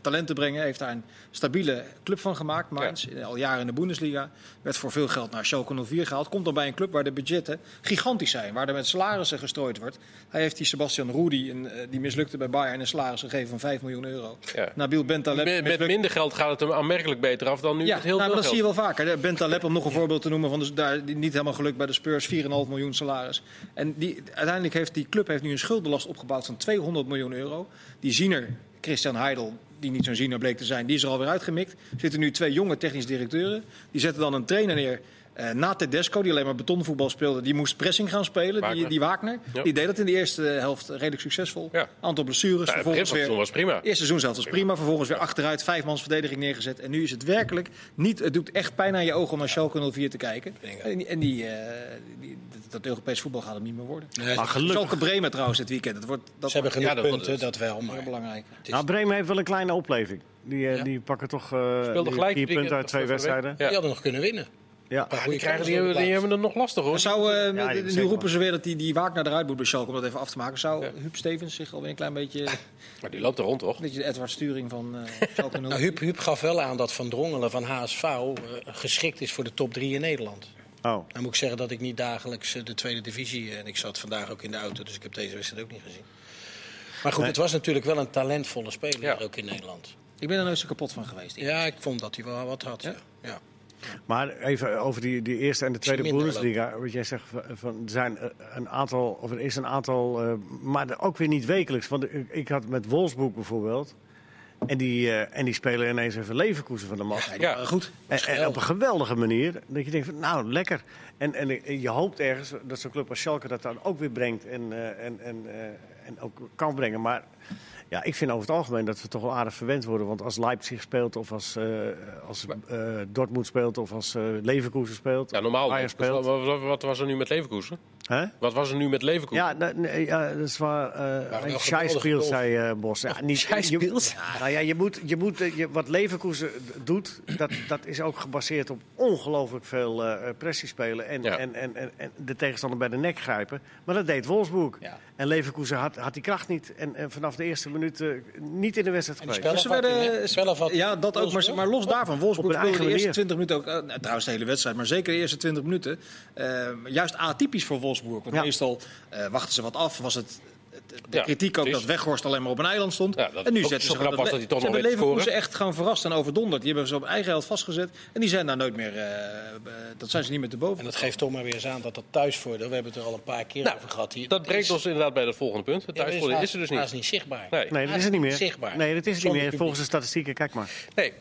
[SPEAKER 3] talenten brengen. Heeft daar een stabiele club van gemaakt, Mainz. eh, Al jaren in de Bundesliga. Werd voor veel geld naar Schalke 04 gehaald. Komt dan bij een club waar de budgetten gigantisch zijn. Waar er met salarissen gestrooid wordt. Hij heeft die Sebastian Rudy, een, eh, die mislukte bij Bayern, een salaris gegeven van 5 miljoen euro.
[SPEAKER 1] Ja.
[SPEAKER 3] Nabil Bentaleb.
[SPEAKER 1] met, met
[SPEAKER 3] mislukte-
[SPEAKER 1] minder geld gaat het hem aanmerkelijk beter af dan nu
[SPEAKER 3] ja,
[SPEAKER 1] met heel
[SPEAKER 3] nou,
[SPEAKER 1] veel
[SPEAKER 3] maar dat zie je
[SPEAKER 1] geld.
[SPEAKER 3] wel vaker. Ben Taleb, om nog een voorbeeld te noemen, van dus daar, die niet helemaal gelukt bij de Spurs, 4,5 miljoen salaris. En die, uiteindelijk heeft die club heeft nu een schuldenlast opgebouwd van 200 miljoen euro. Die ziener, Christian Heidel, die niet zo'n ziener bleek te zijn, die is er alweer uitgemikt. Er zitten nu twee jonge technisch directeuren. Die zetten dan een trainer neer. eh, na Tedesco, die alleen maar betonvoetbal speelde, die moest pressing gaan spelen.
[SPEAKER 1] Wagner.
[SPEAKER 3] Die, die Wagner.
[SPEAKER 1] Ja.
[SPEAKER 3] Die deed dat in de eerste helft redelijk succesvol.
[SPEAKER 1] Ja.
[SPEAKER 3] Aantal blessures.
[SPEAKER 1] Ja, het begin
[SPEAKER 3] Dus vervolgens
[SPEAKER 1] van het seizoen
[SPEAKER 3] weer
[SPEAKER 1] was prima.
[SPEAKER 3] Eerste seizoen zelf was prima. Vervolgens weer achteruit, vijfmans verdediging neergezet. En nu is het werkelijk niet. Het doet echt pijn aan je ogen om naar Schalke 04 te kijken. En, die- en die, eh, die- dat- dat Europees voetbal gaat hem niet meer worden.
[SPEAKER 4] Nee,
[SPEAKER 2] Maar
[SPEAKER 4] Eh, ze
[SPEAKER 2] gelukkig.
[SPEAKER 3] Schalke Bremen trouwens dit weekend. Dat wordt dat
[SPEAKER 4] hebben genoeg
[SPEAKER 1] Ja, dat-
[SPEAKER 4] punten, dat, wel. Maar
[SPEAKER 3] heel belangrijk.
[SPEAKER 2] Nou, Bremen heeft wel een kleine opleving. Die, eh,
[SPEAKER 4] Ja.
[SPEAKER 2] die pakken toch eh,
[SPEAKER 1] Speelde
[SPEAKER 2] die
[SPEAKER 1] gelijk drie
[SPEAKER 2] vier punten
[SPEAKER 1] keer van
[SPEAKER 2] uit twee
[SPEAKER 1] de week.
[SPEAKER 2] wedstrijden.
[SPEAKER 1] Ja.
[SPEAKER 4] Die hadden nog kunnen winnen.
[SPEAKER 2] Ja.
[SPEAKER 4] Maar
[SPEAKER 1] Ah, Die, krijgen, die, hebben, die hebben het nog lastig hoor.
[SPEAKER 3] Maar zou, eh,
[SPEAKER 2] Ja,
[SPEAKER 3] nu- nu
[SPEAKER 2] zeker.
[SPEAKER 3] roepen ze weer dat die, die Wagner eruit moet bij Schalke om dat even af te maken. Zou Huub Stevens zich alweer een klein
[SPEAKER 1] [laughs]
[SPEAKER 3] beetje, een
[SPEAKER 1] Maar die loopt er rond toch?
[SPEAKER 3] beetje de Edward Sturing van
[SPEAKER 1] [laughs]
[SPEAKER 3] eh Schalke 04?
[SPEAKER 4] Nou, Huub, Huub gaf wel aan dat Van Drongelen van HSV eh, geschikt is voor de top 3 in Nederland.
[SPEAKER 2] Oh.
[SPEAKER 4] Dan moet ik zeggen dat ik niet dagelijks eh, de tweede divisie... eh, en ik zat vandaag ook in de auto, dus ik heb deze wedstrijd ook niet gezien. Maar goed, het was natuurlijk wel een talentvolle speler
[SPEAKER 1] Ja.
[SPEAKER 4] hier ook in Nederland.
[SPEAKER 3] Ik ben er nooit zo kapot van geweest.
[SPEAKER 4] Ja, ik vond dat hij wel wat had. Ja? Ja.
[SPEAKER 2] Maar even over die, die eerste en de tweede
[SPEAKER 4] minder
[SPEAKER 2] Bundesliga. Wat jij zegt, van- van, er zijn eh, een aantal, of er is een aantal, eh, maar ook weer niet wekelijks. Want ik, ik had met Wolfsburg bijvoorbeeld. En die, eh, en die spelen ineens even Leverkusen van de mat.
[SPEAKER 1] Ja.
[SPEAKER 4] Maar goed.
[SPEAKER 2] En, en op een geweldige manier. Dat je denkt, van, nou lekker. En, en eh, je hoopt ergens dat zo'n club als Schalke dat dan ook weer brengt. En, eh, en, en, eh, en ook kan brengen. Maar ja, ik vind over het algemeen dat we toch wel aardig verwend worden. Want als Leipzig speelt of als, eh, als eh, Dortmund speelt of als eh Leverkusen speelt.
[SPEAKER 1] Ja, normaal.
[SPEAKER 2] Bayern
[SPEAKER 1] Wat,
[SPEAKER 2] speelt.
[SPEAKER 1] wat- wat was er nu met Leverkusen?
[SPEAKER 2] Hè?
[SPEAKER 1] Wat was er nu met Leverkusen?
[SPEAKER 2] Ja, nee, nee, ja, dat is waar. eh
[SPEAKER 4] wel
[SPEAKER 2] een
[SPEAKER 4] geweldige
[SPEAKER 2] scheisspiel,
[SPEAKER 4] goals.
[SPEAKER 2] zei eh, Bos. Ja, niet,
[SPEAKER 4] Scheisspiels?
[SPEAKER 2] Je, nou ja, je moet, je moet, eh, je- wat Leverkusen d- doet, dat, dat is ook gebaseerd op ongelooflijk veel eh pressie spelen. En,
[SPEAKER 1] Ja.
[SPEAKER 2] en, en, en, en de tegenstander bij de nek grijpen. Maar dat deed Wolfsburg.
[SPEAKER 4] Ja.
[SPEAKER 2] En Leverkusen had, had die kracht niet. En, en vanaf de eerste minuut eh, niet in de wedstrijd
[SPEAKER 4] En die
[SPEAKER 2] geweest.
[SPEAKER 4] spel-
[SPEAKER 3] Ze werden,
[SPEAKER 4] Spelafvatting, hè?
[SPEAKER 3] eh, ja, dat ook. Maar,
[SPEAKER 4] Wolfsburg?
[SPEAKER 3] maar los daarvan, Wolfsburg
[SPEAKER 2] Op hun
[SPEAKER 3] speelde de
[SPEAKER 2] eigen
[SPEAKER 3] eerste
[SPEAKER 2] manier.
[SPEAKER 3] 20 minuten ook. eh, nou, trouwens, de hele wedstrijd, maar zeker de eerste 20 minuten. eh, juist atypisch voor Wolfsburg. Want
[SPEAKER 2] Ja.
[SPEAKER 3] meestal eh, wachten ze wat af. Was het. De
[SPEAKER 1] Ja,
[SPEAKER 3] kritiek ook
[SPEAKER 1] precies.
[SPEAKER 3] dat Weghorst alleen maar op een eiland stond.
[SPEAKER 1] Ja, dat
[SPEAKER 3] en nu
[SPEAKER 1] ook
[SPEAKER 3] zetten
[SPEAKER 1] zo
[SPEAKER 3] ze gewoon
[SPEAKER 1] knap was dat hij toch
[SPEAKER 3] ze
[SPEAKER 1] nog
[SPEAKER 3] hebben
[SPEAKER 1] weet te
[SPEAKER 3] Leverkusen echt gaan verrast en overdonderd. Die hebben ze op eigen helft vastgezet. En die zijn daar nooit meer. eh, eh, dat zijn ze niet meer te boven.
[SPEAKER 4] En dat geeft toch maar weer eens aan dat dat thuisvoordeel... We hebben het er al een paar keer
[SPEAKER 1] Nou,
[SPEAKER 4] over gehad hier.
[SPEAKER 1] Dat brengt ons inderdaad bij dat volgende punt. Het thuisvoordeel is er dus
[SPEAKER 4] Dat is
[SPEAKER 1] niet.
[SPEAKER 4] niet zichtbaar.
[SPEAKER 1] Nee.
[SPEAKER 2] Nee, dat is het niet meer.
[SPEAKER 4] Zichtbaar.
[SPEAKER 2] Nee, dat is het niet
[SPEAKER 4] Zonder
[SPEAKER 2] meer.
[SPEAKER 4] publiek.
[SPEAKER 2] Volgens de statistieken, kijk maar.
[SPEAKER 1] nee.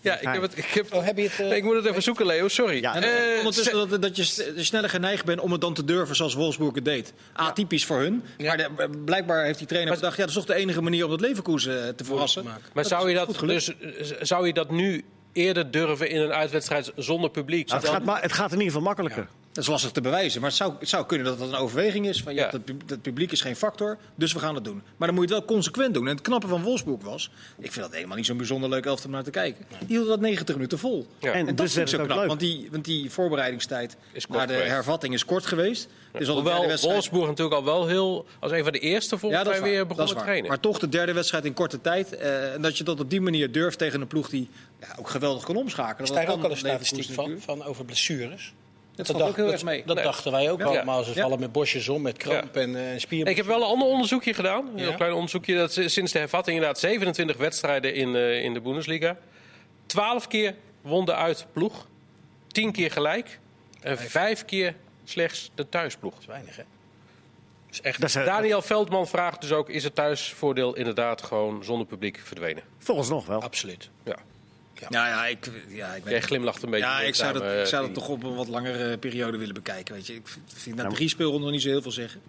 [SPEAKER 1] Ja, ik heb het. Ik, heb,
[SPEAKER 4] Oh, heb je het, eh,
[SPEAKER 1] Nee, ik moet het even zoeken, Leo. Sorry.
[SPEAKER 2] Ja.
[SPEAKER 1] Eh,
[SPEAKER 3] En eh,
[SPEAKER 1] ze-
[SPEAKER 3] ondertussen dat, dat je s- sneller geneigd bent om het dan te durven zoals Wolfsburg het deed. Atypisch voor hun. Maar de- blijkbaar heeft die trainer bedacht... Ja, dat is toch de enige manier om dat Leverkusen eh, te verrassen.
[SPEAKER 4] maken.
[SPEAKER 1] Maar zou je, dat dus, eh, zou je dat nu eerder durven in een uitwedstrijd zonder publiek?
[SPEAKER 2] Nou, het, gaat maar het gaat in ieder geval makkelijker.
[SPEAKER 3] Dat is lastig te bewijzen. Maar het zou, het zou kunnen dat dat een overweging is. Van, ja,
[SPEAKER 1] Ja.
[SPEAKER 3] Dat, pub- dat publiek is geen factor, dus we gaan het doen. Maar dan moet je het wel consequent doen. En het knappe van Wolfsburg was... Ik vind dat helemaal niet zo'n bijzonder leuk elftal om naar te kijken. Die hielden dat 90 minuten vol.
[SPEAKER 1] Ja.
[SPEAKER 2] En,
[SPEAKER 3] En, dat
[SPEAKER 2] dus werd
[SPEAKER 3] is
[SPEAKER 2] het
[SPEAKER 3] zo
[SPEAKER 2] ook
[SPEAKER 3] knap,
[SPEAKER 2] leuk.
[SPEAKER 3] want die, want die voorbereidingstijd
[SPEAKER 1] Is kort
[SPEAKER 3] naar de
[SPEAKER 1] geweest.
[SPEAKER 3] hervatting is kort geweest. Dus al de derde
[SPEAKER 1] Hoewel
[SPEAKER 3] wedstrijd-
[SPEAKER 1] Wolfsburg natuurlijk al wel heel, als een van de eerste volgens
[SPEAKER 3] Ja, dat
[SPEAKER 1] mij
[SPEAKER 3] is waar.
[SPEAKER 1] weer
[SPEAKER 3] dat is
[SPEAKER 1] begonnen te
[SPEAKER 3] waar.
[SPEAKER 1] trainen.
[SPEAKER 3] Maar toch de derde wedstrijd in korte tijd. eh, en dat je dat op die manier durft tegen een ploeg die ja, ook geweldig kan omschakelen.
[SPEAKER 4] Is
[SPEAKER 3] Dat
[SPEAKER 4] daar
[SPEAKER 3] kan
[SPEAKER 4] ook al een
[SPEAKER 3] Leverkusen
[SPEAKER 4] statistiek van,
[SPEAKER 3] natuurlijk.
[SPEAKER 4] van over blessures?
[SPEAKER 3] Dat valt ook heel
[SPEAKER 4] dat,
[SPEAKER 3] erg mee.
[SPEAKER 4] Dat
[SPEAKER 1] Nee.
[SPEAKER 4] dachten wij ook
[SPEAKER 3] Ja.
[SPEAKER 4] allemaal. Ze
[SPEAKER 3] Ja.
[SPEAKER 4] vallen met bosjes om, met kramp en eh spier.
[SPEAKER 1] Ik heb wel een ander onderzoekje gedaan. Een heel
[SPEAKER 4] Ja.
[SPEAKER 1] klein onderzoekje. Dat ze sinds de hervatting inderdaad 27 wedstrijden in, eh, in de Bundesliga. 12 keer won de uitploeg. 10 keer gelijk. En 5 keer slechts de thuisploeg.
[SPEAKER 4] Dat is weinig, hè? Dat is echt...
[SPEAKER 2] Dat is, eh,
[SPEAKER 1] Daniel Veldman vraagt dus ook: is het thuisvoordeel inderdaad gewoon zonder publiek verdwenen?
[SPEAKER 2] volgens nog wel.
[SPEAKER 4] Absoluut.
[SPEAKER 1] Ja.
[SPEAKER 3] Ja, ja, ik, ja, ik weet
[SPEAKER 1] Jij glimlacht een beetje.
[SPEAKER 3] Ja, ik zou,
[SPEAKER 1] samen,
[SPEAKER 3] dat,
[SPEAKER 1] eh,
[SPEAKER 3] ik zou dat
[SPEAKER 1] die-
[SPEAKER 3] toch op een wat langere periode willen bekijken. Weet je. Ik vind na drie speelronden nog niet zo heel veel zeggen.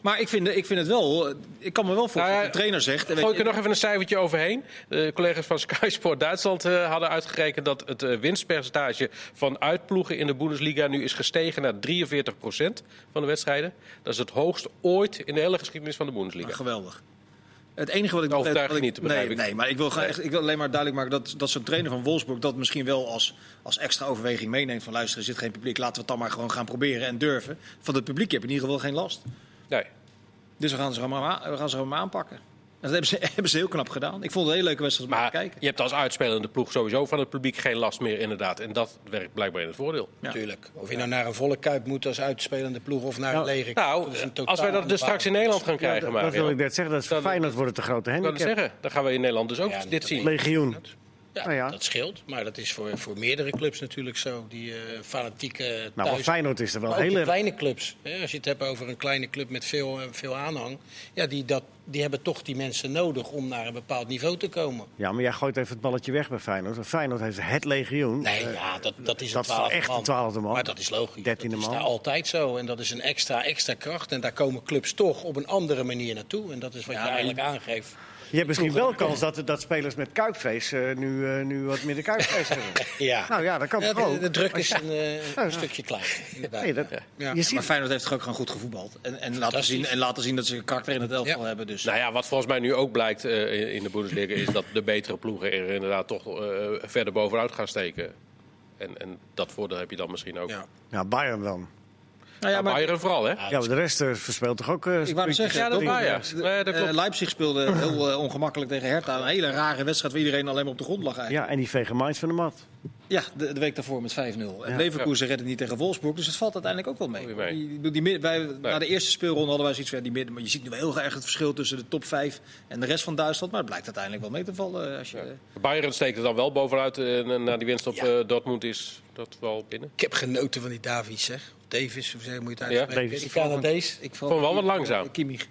[SPEAKER 3] Maar ik vind, ik vind het wel, eh, ik kan me wel voor
[SPEAKER 1] Nou ja,
[SPEAKER 3] de trainer zegt. en weet
[SPEAKER 1] Gooi ik
[SPEAKER 3] je-
[SPEAKER 1] er nog even een cijfertje overheen. De collega's van Sky Sport Duitsland eh, hadden uitgerekend dat het eh, winstpercentage van uitploegen in de Bundesliga nu is gestegen naar 43 van de wedstrijden. Dat is het hoogst ooit in de hele geschiedenis van de Bundesliga.
[SPEAKER 3] Maar geweldig. Het enige wat ik
[SPEAKER 1] Overtuig
[SPEAKER 3] wat
[SPEAKER 1] je niet, begrijp
[SPEAKER 3] nee,
[SPEAKER 1] ik.
[SPEAKER 3] nee, maar ik wil, gewoon echt, ik wil alleen maar duidelijk maken dat, dat zo'n trainer van Wolfsburg dat misschien wel als, als extra overweging meeneemt. Van luisteren, er zit geen publiek, laten we het dan maar gewoon gaan proberen en durven. Van het publiek heb je in ieder geval geen last.
[SPEAKER 1] Nee.
[SPEAKER 3] Dus we gaan ze gewoon maar, aan- we gaan ze gewoon maar aanpakken. En dat hebben ze, [laughs] hebben ze heel knap gedaan. Ik vond het een hele leuke wedstrijd om naar
[SPEAKER 1] Maar
[SPEAKER 3] te kijken.
[SPEAKER 1] je hebt als uitspelende ploeg sowieso van het publiek geen last meer, inderdaad. En dat werkt blijkbaar in het voordeel.
[SPEAKER 4] Natuurlijk. Of je nou naar een volle kuip moet als uitspelende ploeg of naar een lege kuip,
[SPEAKER 1] Nou,
[SPEAKER 4] dat is een totaal
[SPEAKER 1] als wij dat dus
[SPEAKER 4] andere
[SPEAKER 1] straks in
[SPEAKER 4] verhaal.
[SPEAKER 1] Nederland gaan
[SPEAKER 2] Ja,
[SPEAKER 1] krijgen,
[SPEAKER 2] dat,
[SPEAKER 1] maar.
[SPEAKER 2] dat wil ik net zeggen. Dat is voor
[SPEAKER 1] Dan-
[SPEAKER 2] Feyenoord wordt het een grote
[SPEAKER 1] kan het
[SPEAKER 2] handicap.
[SPEAKER 1] zeggen. Dan gaan we in Nederland dus ook
[SPEAKER 4] Ja,
[SPEAKER 1] dit
[SPEAKER 4] niet
[SPEAKER 1] zien.
[SPEAKER 2] Legioen.
[SPEAKER 4] Ja,
[SPEAKER 2] Nou ja.
[SPEAKER 4] dat scheelt. Maar dat is voor, voor meerdere clubs natuurlijk zo. Die eh, fanatieke eh,
[SPEAKER 2] Nou, maar
[SPEAKER 4] thuis-
[SPEAKER 2] Feyenoord is er wel
[SPEAKER 4] Maar ook
[SPEAKER 2] heel
[SPEAKER 4] de
[SPEAKER 2] erg...
[SPEAKER 4] kleine clubs. Hè, als je het hebt over een kleine club met veel, eh, veel aanhang. Ja, die, dat, die hebben toch die mensen nodig om naar een bepaald niveau te komen.
[SPEAKER 2] Ja, maar jij gooit even het balletje weg bij Feyenoord. Want Feyenoord heeft het legioen.
[SPEAKER 4] Nee,
[SPEAKER 2] Eh,
[SPEAKER 4] ja, dat, dat is
[SPEAKER 2] dat is
[SPEAKER 4] een twaalfde
[SPEAKER 2] echt
[SPEAKER 4] man.
[SPEAKER 2] een twaalfde man.
[SPEAKER 4] Maar dat is logisch.
[SPEAKER 2] Dertiende
[SPEAKER 4] dat is
[SPEAKER 2] man.
[SPEAKER 4] daar altijd zo. En dat is een extra, extra kracht. En daar komen clubs toch op een andere manier naartoe. En dat is wat je eigenlijk aangeeft.
[SPEAKER 2] Je hebt misschien wel kans dat, dat spelers met kuipvlees eh, nu, eh, nu wat minder kuipvlees hebben.
[SPEAKER 4] Ja.
[SPEAKER 2] Nou ja, dat kan toch
[SPEAKER 4] de,
[SPEAKER 2] ook.
[SPEAKER 4] de druk is een, eh,
[SPEAKER 2] ja.
[SPEAKER 4] een stukje kleiner. inderdaad.
[SPEAKER 2] Nee, dat,
[SPEAKER 4] Ja.
[SPEAKER 2] Je
[SPEAKER 3] Maar
[SPEAKER 2] ziet,
[SPEAKER 3] Feyenoord heeft toch ook gewoon goed gevoetbald. En, en, laten, zien, en laten zien dat ze karakter in het elftal
[SPEAKER 4] Ja.
[SPEAKER 3] hebben. Dus.
[SPEAKER 1] Nou ja, wat volgens mij nu ook blijkt eh, in de Bundesliga is dat de betere ploegen er inderdaad toch eh, verder bovenuit gaan steken. En, en dat voordeel heb je dan misschien ook.
[SPEAKER 4] Ja.
[SPEAKER 2] nou, Bayern dan.
[SPEAKER 3] Nou ja,
[SPEAKER 1] maar
[SPEAKER 3] maar
[SPEAKER 1] Bayern vooral, hè?
[SPEAKER 2] Ja, maar de rest eh, verspeelt toch ook... eh,
[SPEAKER 3] Ik wou het
[SPEAKER 2] puntjes?
[SPEAKER 3] zeggen,
[SPEAKER 1] Ja, dat
[SPEAKER 3] dat-
[SPEAKER 1] waar, ja. Nee, dat
[SPEAKER 3] eh,
[SPEAKER 1] klopt.
[SPEAKER 3] Leipzig speelde heel eh, ongemakkelijk tegen Hertha. Een hele rare wedstrijd waar iedereen alleen maar op de grond lag eigenlijk.
[SPEAKER 2] Ja, en die vegen Mainz van de mat.
[SPEAKER 3] Ja, de, de week daarvoor met 5-0. En Leverkusen redde het niet tegen Wolfsburg, dus het valt uiteindelijk ook wel mee.
[SPEAKER 1] Ook weer mee.
[SPEAKER 3] Die, die, midden- wij, Na de eerste speelronde hadden wij zoiets van ja, die midden, maar je ziet nu wel heel erg het verschil tussen de top 5 en de rest van Duitsland. Maar het blijkt uiteindelijk wel mee te vallen. eh, Als je,
[SPEAKER 1] Bayern steekt er dan wel bovenuit eh, na die winst op
[SPEAKER 4] Ja.
[SPEAKER 1] eh, Dortmund is dat wel binnen.
[SPEAKER 4] Ik heb genoten van die Davies, zeg. Davis, hoe zeg je- moet je het
[SPEAKER 1] Ja,
[SPEAKER 4] uitspreken?
[SPEAKER 2] Davies.
[SPEAKER 4] die Canadees. Ik vond...
[SPEAKER 1] Vond wel wat langzaam.
[SPEAKER 3] Kimmich.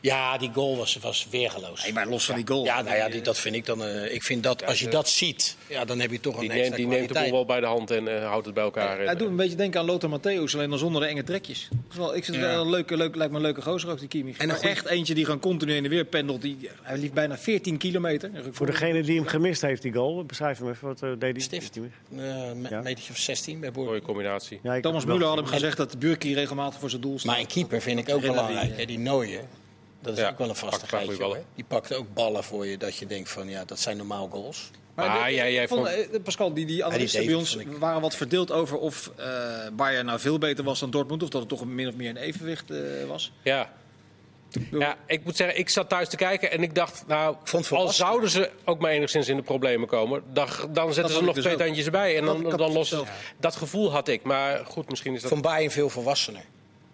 [SPEAKER 4] Ja, die goal was, was weergeloos.
[SPEAKER 3] Nee, maar los van die goal.
[SPEAKER 4] Ja, nou ja, die, dat vind ik dan. eh, ik vind dat als je dat ziet, ja, dan heb je toch een
[SPEAKER 1] Die neemt,
[SPEAKER 4] extra
[SPEAKER 1] die neemt de boel
[SPEAKER 4] kwaliteit.
[SPEAKER 1] wel bij de hand en eh, houdt het bij elkaar. En,
[SPEAKER 3] Hij doet een beetje denken aan Lothar Matthäus, alleen dan zonder de enge trekjes. Dat is wel- Ik vind het
[SPEAKER 4] Ja.
[SPEAKER 3] wel een leuke, leuk, lijkt me een leuke gozer ook, die Kimmich.
[SPEAKER 4] En
[SPEAKER 3] En
[SPEAKER 4] een goeie-
[SPEAKER 3] echt eentje die gewoon continu in de weer pendelt. Die, hij liep bijna 14 kilometer.
[SPEAKER 2] Voor degene die hem gemist heeft, die goal. Beschrijf hem even, wat eh, deed hij?
[SPEAKER 4] Stift. Eh, me-
[SPEAKER 2] Ja.
[SPEAKER 4] Een metertje of 16 bij
[SPEAKER 1] eh,
[SPEAKER 4] Boer.
[SPEAKER 1] mooie combinatie.
[SPEAKER 2] Ja, ik-
[SPEAKER 3] Thomas Müller had hem gezegd dat de Burki regelmatig voor zijn doel staat.
[SPEAKER 4] Maar een keeper vind ik ook
[SPEAKER 3] Renner die,
[SPEAKER 4] belangrijk. hè, Die Nooien, dat is
[SPEAKER 1] eh, Ja,
[SPEAKER 4] ook wel een
[SPEAKER 1] pakt
[SPEAKER 4] vaste
[SPEAKER 1] vaak goede
[SPEAKER 4] geitje,
[SPEAKER 1] ballen.
[SPEAKER 4] hoor. Die pakt ook ballen voor je dat je denkt van ja, dat zijn normaal goals.
[SPEAKER 1] Maar
[SPEAKER 3] Maar
[SPEAKER 1] jij- jij
[SPEAKER 3] ik vond,
[SPEAKER 1] vond-
[SPEAKER 3] eh, Pascal, die, die analisten
[SPEAKER 4] deed
[SPEAKER 3] bij
[SPEAKER 4] het,
[SPEAKER 3] ons
[SPEAKER 4] vond ik.
[SPEAKER 3] waren wat verdeeld over of eh Bayern nou veel beter was dan Dortmund. Of dat het toch min of meer een evenwicht eh, was.
[SPEAKER 1] Ja. Ja, ik moet zeggen, ik zat thuis te kijken en ik dacht, nou,
[SPEAKER 4] vond het
[SPEAKER 1] al
[SPEAKER 4] volwassen.
[SPEAKER 1] zouden ze ook maar enigszins in de problemen komen, dan, dan zetten
[SPEAKER 3] had
[SPEAKER 1] ze
[SPEAKER 3] ik
[SPEAKER 1] nog
[SPEAKER 3] dus
[SPEAKER 1] twee
[SPEAKER 3] ook. dus
[SPEAKER 1] tandjes bij en dan,
[SPEAKER 3] Dat- ik had
[SPEAKER 1] dan
[SPEAKER 3] het
[SPEAKER 1] lossen ze.
[SPEAKER 3] zelf.
[SPEAKER 1] Dat gevoel had ik, maar goed, misschien is dat...
[SPEAKER 4] Van Bayern veel volwassener.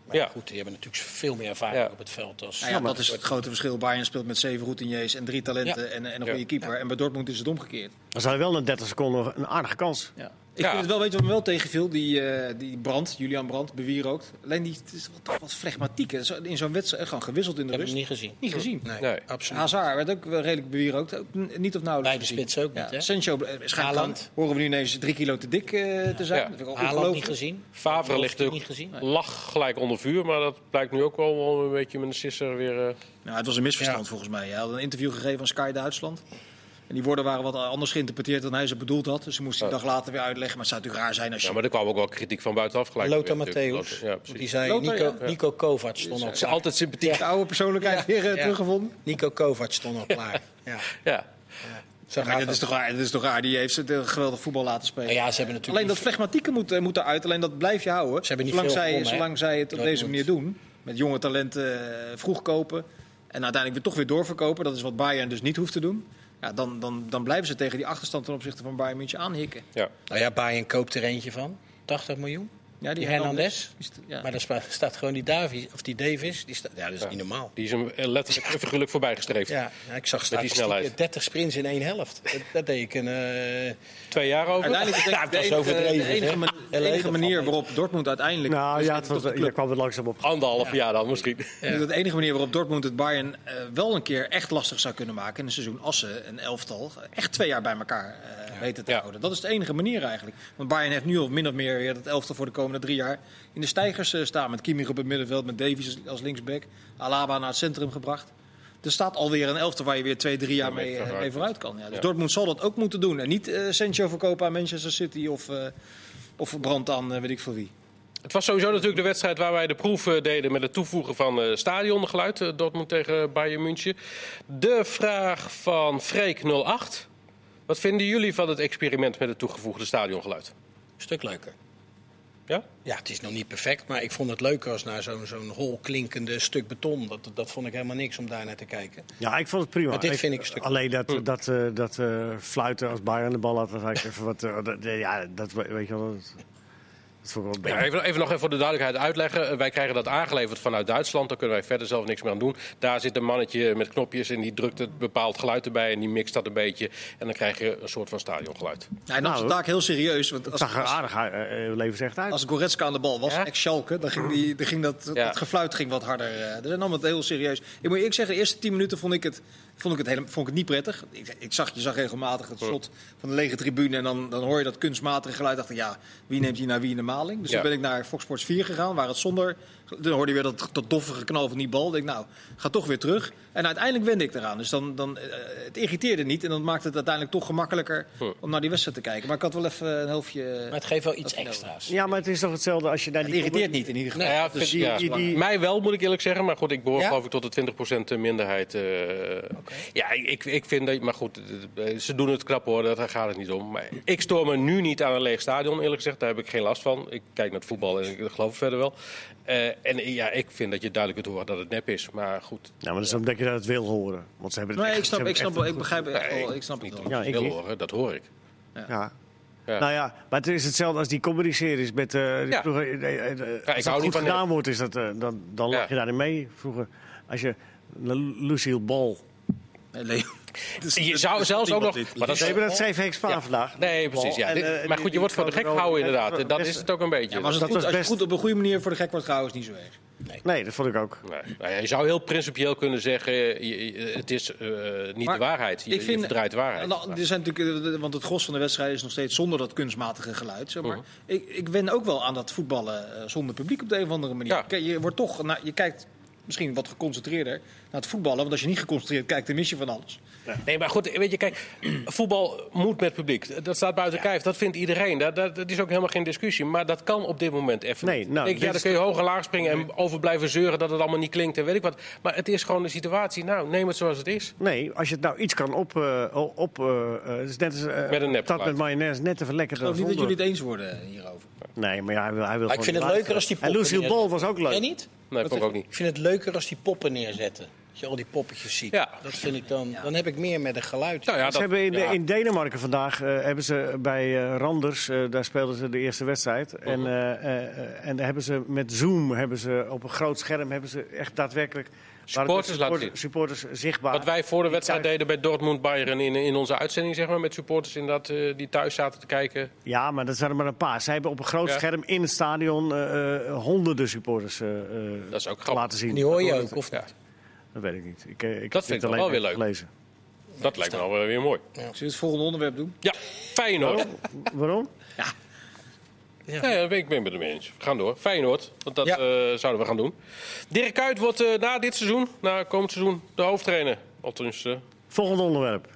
[SPEAKER 4] Maar
[SPEAKER 1] Ja.
[SPEAKER 4] goed, die hebben natuurlijk veel meer ervaring
[SPEAKER 1] Ja.
[SPEAKER 4] op het veld. Als...
[SPEAKER 3] Nou ja, dat is het grote verschil. Bayern speelt met zeven routiniers en drie talenten
[SPEAKER 4] Ja.
[SPEAKER 3] en, en een
[SPEAKER 1] Ja.
[SPEAKER 3] goede keeper. En bij Dortmund is het omgekeerd.
[SPEAKER 2] Dan zou je wel na 30 seconden nog een aardige kans.
[SPEAKER 3] Ja. Ik
[SPEAKER 1] Ja.
[SPEAKER 3] vind het wel, weet je wat me wel tegenviel? Die, eh, die Brand, Julian Brand, bewierookt. Alleen die het is wel toch wat flegmatiek. hè. Zo- In zo'n wedstrijd, eh, gewoon gewisseld in de
[SPEAKER 4] Ik heb
[SPEAKER 3] rust.
[SPEAKER 4] hem niet gezien.
[SPEAKER 3] Niet gezien.
[SPEAKER 4] Nee,
[SPEAKER 1] Nee.
[SPEAKER 4] absoluut.
[SPEAKER 3] Hazard werd ook wel redelijk bewierookt. Ook n- niet of nauwelijks.
[SPEAKER 4] Beide
[SPEAKER 3] gezien.
[SPEAKER 4] spitsen ook niet, hè?
[SPEAKER 3] Sancho eh, waarschijnlijk
[SPEAKER 4] Haaland.
[SPEAKER 3] gewoon- horen we nu ineens drie kilo te dik eh, te zijn.
[SPEAKER 1] Ja.
[SPEAKER 3] Dat vind ik ook
[SPEAKER 4] Haaland niet
[SPEAKER 3] ongelooflijk.
[SPEAKER 4] gezien.
[SPEAKER 1] Favre
[SPEAKER 4] Lewandowski
[SPEAKER 1] ligt ook
[SPEAKER 4] niet gezien.
[SPEAKER 1] lag gelijk onder vuur, maar dat blijkt nu ook wel wel een beetje met een sisser weer... eh,
[SPEAKER 3] Nou, het was een misverstand
[SPEAKER 4] Ja.
[SPEAKER 3] volgens mij. Hij had een interview gegeven aan Sky Duitsland. En die woorden waren wat anders geïnterpreteerd dan hij ze bedoeld had. Dus ze moest hij een dag later weer uitleggen. Maar het zou natuurlijk raar zijn als je...
[SPEAKER 1] Ja, maar er kwam ook wel kritiek van buitenaf gelijk.
[SPEAKER 4] Lothar
[SPEAKER 1] weer natuurlijk.
[SPEAKER 4] Matthäus.
[SPEAKER 1] Ja,
[SPEAKER 4] die
[SPEAKER 1] precies.
[SPEAKER 4] zei
[SPEAKER 3] Lothar,
[SPEAKER 4] Nico,
[SPEAKER 3] ja.
[SPEAKER 4] Nico Kovac stond al
[SPEAKER 1] Ze
[SPEAKER 4] klaar.
[SPEAKER 1] altijd sympathiek.
[SPEAKER 3] de oude persoonlijkheid weer eh,
[SPEAKER 4] ja.
[SPEAKER 3] teruggevonden.
[SPEAKER 4] Nico Kovac stond al
[SPEAKER 3] [laughs]
[SPEAKER 4] klaar. Ja.
[SPEAKER 1] Ja.
[SPEAKER 4] Zo
[SPEAKER 3] Maar
[SPEAKER 4] gaat
[SPEAKER 3] dat is,
[SPEAKER 4] dat.
[SPEAKER 3] toch raar, dat is toch raar. Die heeft ze eh, geweldig voetbal laten spelen.
[SPEAKER 4] Nou ja, ze hebben natuurlijk
[SPEAKER 3] Alleen dat flegmatieke moet, eh, moet eruit. Alleen dat blijf je houden.
[SPEAKER 4] Ze hebben niet
[SPEAKER 3] zolang,
[SPEAKER 4] veel
[SPEAKER 3] zij,
[SPEAKER 4] gewonnen, hè?
[SPEAKER 3] zolang zij het op
[SPEAKER 4] Dat
[SPEAKER 3] deze
[SPEAKER 4] moet.
[SPEAKER 3] manier doen. Met jonge talenten eh, vroeg kopen. En uiteindelijk weer toch weer doorverkopen. Dat is wat Bayern dus niet hoeft te doen. Ja, dan, dan, dan blijven ze tegen die achterstand ten opzichte van Bayern München aanhikken.
[SPEAKER 1] ja.
[SPEAKER 4] Nou ja, Bayern koopt er eentje van. 80 miljoen.
[SPEAKER 3] Ja,
[SPEAKER 4] Die Hernandez.
[SPEAKER 3] is te- ja.
[SPEAKER 4] Maar daar spa- staat gewoon die Davies, of die Davis. Die sta- ja, dat is niet normaal.
[SPEAKER 1] Die is hem eh, letterlijk en figuurlijk voorbij gestreefd.
[SPEAKER 4] Ja, ja, ik zag
[SPEAKER 1] Met die snelheid.
[SPEAKER 4] statistieken, 30 sprints in één helft. Dat, dat deed ik een... eh,
[SPEAKER 1] Twee jaar over. [laughs]
[SPEAKER 3] Uiteindelijk is
[SPEAKER 4] Ja,
[SPEAKER 3] denk
[SPEAKER 4] het
[SPEAKER 3] ik de
[SPEAKER 4] was
[SPEAKER 3] enige-
[SPEAKER 4] overdreven,
[SPEAKER 3] de enige,
[SPEAKER 4] hè?
[SPEAKER 3] man- de
[SPEAKER 4] Hele
[SPEAKER 3] enige manier
[SPEAKER 4] valt mee.
[SPEAKER 3] waarop Dortmund uiteindelijk...
[SPEAKER 2] Nou
[SPEAKER 3] dus
[SPEAKER 2] ja,
[SPEAKER 3] dat
[SPEAKER 2] het
[SPEAKER 3] is
[SPEAKER 2] was,
[SPEAKER 3] toch de
[SPEAKER 2] daar
[SPEAKER 3] club.
[SPEAKER 2] kwam het langzaam op.
[SPEAKER 1] Anderhalf jaar dan misschien.
[SPEAKER 3] Dus De enige manier waarop Dortmund het Bayern eh, wel een keer echt lastig zou kunnen maken... in een seizoen als ze een elftal echt twee jaar bij elkaar eh, weten te
[SPEAKER 1] Ja.
[SPEAKER 3] houden. Dat is de enige manier eigenlijk. Want Bayern heeft nu al min of meer weer dat elftal voor de komende komende drie jaar in de stijgers eh, staan. Met Kimmich op het middenveld, met Davies als- als linksback. Alaba naar het centrum gebracht. Er staat alweer een elfte waar je weer twee, drie jaar
[SPEAKER 1] Ja, mee
[SPEAKER 3] mee, eh,
[SPEAKER 1] vooruit
[SPEAKER 3] mee
[SPEAKER 1] kunt.
[SPEAKER 3] vooruit kan. Ja. Dus
[SPEAKER 1] Ja.
[SPEAKER 3] Dortmund zal dat ook moeten doen. En niet eh Sancho verkopen aan Manchester City of, eh of Brandt aan eh, weet ik veel wie.
[SPEAKER 1] Het was sowieso natuurlijk de wedstrijd waar wij de proef eh, deden met het toevoegen van eh, stadiongeluid. eh, Dortmund tegen Bayern München. De vraag van Freek08. Wat vinden jullie van het experiment met het toegevoegde stadiongeluid?
[SPEAKER 4] Een stuk leuker.
[SPEAKER 1] Ja?
[SPEAKER 4] Ja, het is nog niet perfect, maar ik vond het leuker als naar zo'n zo'n hol klinkende stuk beton. Dat, dat vond ik helemaal niks om daar naar te kijken.
[SPEAKER 2] Ja, ik vond het prima.
[SPEAKER 4] Maar dit
[SPEAKER 2] Ik-
[SPEAKER 4] vind ik een stuk-
[SPEAKER 2] Alleen dat, dat, eh, dat eh, fluiten als Bayern de bal had, dat had ik even wat... eh, dat- ja, dat weet je wel... Dat, dat vond ik wel een beetje-
[SPEAKER 1] Ja, even, even nog even voor de duidelijkheid uitleggen. Eh, Wij krijgen dat aangeleverd vanuit Duitsland. Daar kunnen wij verder zelf niks meer aan doen. Daar zit een mannetje met knopjes en die drukt het bepaald geluid erbij. En die mixt dat een beetje. En dan krijg je een soort van stadiongeluid.
[SPEAKER 3] Ja, hij nam
[SPEAKER 2] Nou,
[SPEAKER 3] zijn taak heel serieus. Want
[SPEAKER 2] Het
[SPEAKER 3] als,
[SPEAKER 2] zag er
[SPEAKER 3] als,
[SPEAKER 2] aardig uit, eh, eh, levensrecht uit.
[SPEAKER 3] als Goretzka aan de bal was,
[SPEAKER 1] Ja?
[SPEAKER 3] ex-Schalke, dan ging, die, dan ging dat,
[SPEAKER 1] Ja.
[SPEAKER 3] dat gefluit ging wat harder. eh. Dus hij nam het heel serieus. Ik moet eerlijk zeggen, de eerste tien minuten vond ik het, vond ik het, helemaal, vond ik het niet prettig. Ik, ik zag, je zag regelmatig
[SPEAKER 1] Hm.
[SPEAKER 3] het slot van de lege tribune en dan, dan hoor je dat kunstmatige geluid. dacht ik, ja, wie neemt hier naar wie in de maling? Dus
[SPEAKER 1] Ja.
[SPEAKER 3] toen ben ik naar Fox Sports 4 gegaan, waar het zonder... Dan hoorde je weer dat, dat doffe geknal van die bal. Ik denk, nou, ga toch weer terug. En uiteindelijk wende ik eraan. Dus dan, dan, eh, het irriteerde niet en dat maakte het uiteindelijk toch gemakkelijker
[SPEAKER 1] Hm.
[SPEAKER 3] om naar die wedstrijd te kijken. Maar ik had wel even een helftje...
[SPEAKER 4] Maar het geeft wel iets
[SPEAKER 3] Dat vind ik
[SPEAKER 4] extra's.
[SPEAKER 2] Ja, maar het is toch hetzelfde als je naar
[SPEAKER 3] Het
[SPEAKER 2] die...
[SPEAKER 3] irriteert niet in ieder geval.
[SPEAKER 1] Nou ja,
[SPEAKER 3] [laughs]
[SPEAKER 1] vind-
[SPEAKER 3] Dus die-
[SPEAKER 1] ja.
[SPEAKER 3] die- die-
[SPEAKER 1] Mij wel, moet ik eerlijk zeggen. Maar goed, ik behoor
[SPEAKER 4] Ja?
[SPEAKER 1] geloof ik tot de 20% minderheid. eh. Ja, ik- ik, ik vind dat... Maar goed, eh, ze doen het knap hoor, daar gaat het niet om. Maar ik stoor me nu niet aan een leeg stadion, eerlijk gezegd. Daar heb ik geen last van. Ik kijk naar het voetbal en ik geloof het verder wel. Eh, en ja, ik vind dat je duidelijk kunt horen dat het nep is. Maar goed,
[SPEAKER 2] Ja, Nou, maar dat is omdat je dat het wil horen. Want ze hebben het
[SPEAKER 3] Nee,
[SPEAKER 2] echt-
[SPEAKER 3] ik snap,
[SPEAKER 2] ze
[SPEAKER 3] ik,
[SPEAKER 2] hebben
[SPEAKER 3] snap, wel- ik begrijp het echt
[SPEAKER 1] Nee,
[SPEAKER 3] wel. Ik snap het
[SPEAKER 1] niet
[SPEAKER 3] wel.
[SPEAKER 1] omdat
[SPEAKER 2] Ja,
[SPEAKER 1] ik
[SPEAKER 2] ik
[SPEAKER 1] wil
[SPEAKER 2] niet.
[SPEAKER 1] horen, dat hoor ik.
[SPEAKER 2] echt- Ja.
[SPEAKER 1] Ja.
[SPEAKER 2] Nou ja, maar het is hetzelfde als die comedy-series met... eh, die
[SPEAKER 1] Ja.
[SPEAKER 2] vroeger, eh, eh, eh,
[SPEAKER 1] hou
[SPEAKER 2] als dat
[SPEAKER 1] niet
[SPEAKER 2] goed
[SPEAKER 1] van
[SPEAKER 2] gedaan wordt, is dat, eh, dan, dan
[SPEAKER 1] Ja.
[SPEAKER 2] lag je daarin mee. Vroeger, als je Lu- Lucille Ball...
[SPEAKER 3] Nee, Leo.
[SPEAKER 1] Je zou zelfs ook nog... Maar dat
[SPEAKER 2] Ze
[SPEAKER 1] is,
[SPEAKER 2] hebben dat schreef Henk Spaan
[SPEAKER 1] Ja.
[SPEAKER 2] vandaag.
[SPEAKER 1] nee, precies. Ja.
[SPEAKER 2] En,
[SPEAKER 1] Dit-
[SPEAKER 2] eh,
[SPEAKER 1] maar
[SPEAKER 2] die-
[SPEAKER 1] goed, je
[SPEAKER 2] die
[SPEAKER 1] wordt voor de gek
[SPEAKER 2] kwam er ook-
[SPEAKER 1] gehouden inderdaad.
[SPEAKER 2] het
[SPEAKER 1] Dat
[SPEAKER 2] beste.
[SPEAKER 1] is het ook een beetje.
[SPEAKER 3] Ja, maar als het,
[SPEAKER 2] Dat
[SPEAKER 3] goed,
[SPEAKER 2] was
[SPEAKER 3] als je
[SPEAKER 2] best-
[SPEAKER 3] goed op een goede manier voor de gek wordt gehouden, is het niet zo erg.
[SPEAKER 2] Nee, dat vond ik ook.
[SPEAKER 1] Nee. Nou ja, je zou heel principieel kunnen zeggen, je- je- het is eh, niet
[SPEAKER 3] Maar
[SPEAKER 1] de waarheid. Je,
[SPEAKER 3] ik
[SPEAKER 1] je
[SPEAKER 3] vind-
[SPEAKER 1] verdraait de waarheid.
[SPEAKER 3] Nou, er zijn natuurlijk, eh, want het gros van de wedstrijden is nog steeds zonder dat kunstmatige geluid. Zeg maar.
[SPEAKER 1] Mhm.
[SPEAKER 3] ik, ik wen ook wel aan dat voetballen eh, zonder publiek op de een of andere manier.
[SPEAKER 1] Ja.
[SPEAKER 3] Kijk, Je, wordt toch, nou, je kijkt misschien wat geconcentreerder naar het voetballen. Want als je niet geconcentreerd kijkt, dan mis je van alles.
[SPEAKER 1] Nee, maar goed, weet je, kijk, [clears throat] voetbal moet met publiek. Dat staat buiten kijf, dat vindt iedereen. Dat, dat, dat is ook helemaal geen discussie. Maar dat kan op dit moment even
[SPEAKER 2] Nee,
[SPEAKER 1] niet.
[SPEAKER 2] nou,
[SPEAKER 1] Denk je,
[SPEAKER 2] dit
[SPEAKER 1] ja, dan
[SPEAKER 2] is
[SPEAKER 1] kun je hoog en laag springen en over blijven zeuren dat het allemaal niet klinkt en weet ik wat. Maar het is gewoon de situatie. Nou, neem het zoals het is.
[SPEAKER 2] Nee, als je het nou iets kan op... eh, op eh, eh, het is net als, eh,
[SPEAKER 1] Met een nep
[SPEAKER 2] Dat met
[SPEAKER 1] geluid.
[SPEAKER 2] mayonaise net even lekker
[SPEAKER 3] Ik geloof
[SPEAKER 2] dan
[SPEAKER 3] niet dat jullie
[SPEAKER 2] zonder.
[SPEAKER 3] het eens worden eh, hierover.
[SPEAKER 2] Nee, maar ja, hij wil, hij wil
[SPEAKER 4] Maar
[SPEAKER 2] gewoon
[SPEAKER 4] ik vind het
[SPEAKER 2] die
[SPEAKER 4] leuker als die
[SPEAKER 2] En
[SPEAKER 4] poppen...
[SPEAKER 2] Lucille
[SPEAKER 4] neerzetten.
[SPEAKER 2] Ball was ook leuk.
[SPEAKER 4] Jij niet?
[SPEAKER 1] eh? Nee, dat vond ik ook niet.
[SPEAKER 4] Ik vind het leuker als die poppen neerzetten. Dat je al die poppetjes ziet.
[SPEAKER 1] Ja.
[SPEAKER 4] Dat vind ik dan... Dan heb ik meer met een geluid.
[SPEAKER 1] Nou ja,
[SPEAKER 2] Ze
[SPEAKER 1] dat-
[SPEAKER 2] hebben in,
[SPEAKER 1] ja.
[SPEAKER 2] in Denemarken vandaag eh, hebben ze bij eh, Randers, eh, daar speelden ze de eerste wedstrijd.
[SPEAKER 1] Oh.
[SPEAKER 2] En, eh, eh, eh, en daar hebben ze met Zoom hebben ze op een groot scherm hebben ze echt daadwerkelijk waren de
[SPEAKER 1] Supporters laten zien.
[SPEAKER 2] supporters zichtbaar.
[SPEAKER 1] Wat wij voor de wedstrijd
[SPEAKER 2] thuis-
[SPEAKER 1] deden bij Dortmund Bayern in, in onze uitzending, zeg maar, met supporters inderdaad, eh, die thuis zaten te kijken.
[SPEAKER 2] Ja, maar dat zijn er maar een paar. Zij hebben op een groot
[SPEAKER 1] Ja.
[SPEAKER 2] scherm in het stadion eh, eh, honderden supporters eh, eh,
[SPEAKER 1] Dat is ook grappig.
[SPEAKER 2] laten zien.
[SPEAKER 4] Die hoor je
[SPEAKER 2] Dat-
[SPEAKER 4] ook, of
[SPEAKER 1] Ja.
[SPEAKER 4] niet?
[SPEAKER 2] Dat weet ik niet. Ik, eh,
[SPEAKER 1] Dat
[SPEAKER 2] ik heb
[SPEAKER 1] vind ik
[SPEAKER 2] dit
[SPEAKER 1] dan
[SPEAKER 2] alleen
[SPEAKER 1] wel weer
[SPEAKER 2] even
[SPEAKER 1] leuk.
[SPEAKER 2] gelezen.
[SPEAKER 1] Dat lijkt me wel weer- weer mooi.
[SPEAKER 3] Zullen we het volgende onderwerp doen?
[SPEAKER 1] Ja, Feyenoord.
[SPEAKER 2] Waarom?
[SPEAKER 3] [laughs]
[SPEAKER 1] Ja, ja, dat ben ik ben met hem eens. We gaan door. Feyenoord, want dat
[SPEAKER 4] Ja.
[SPEAKER 1] eh, zouden we gaan doen. Dirk Kuyt wordt eh, na dit seizoen, na komend seizoen, de hoofdtrainer. Althans, eh,
[SPEAKER 2] Volgende onderwerp.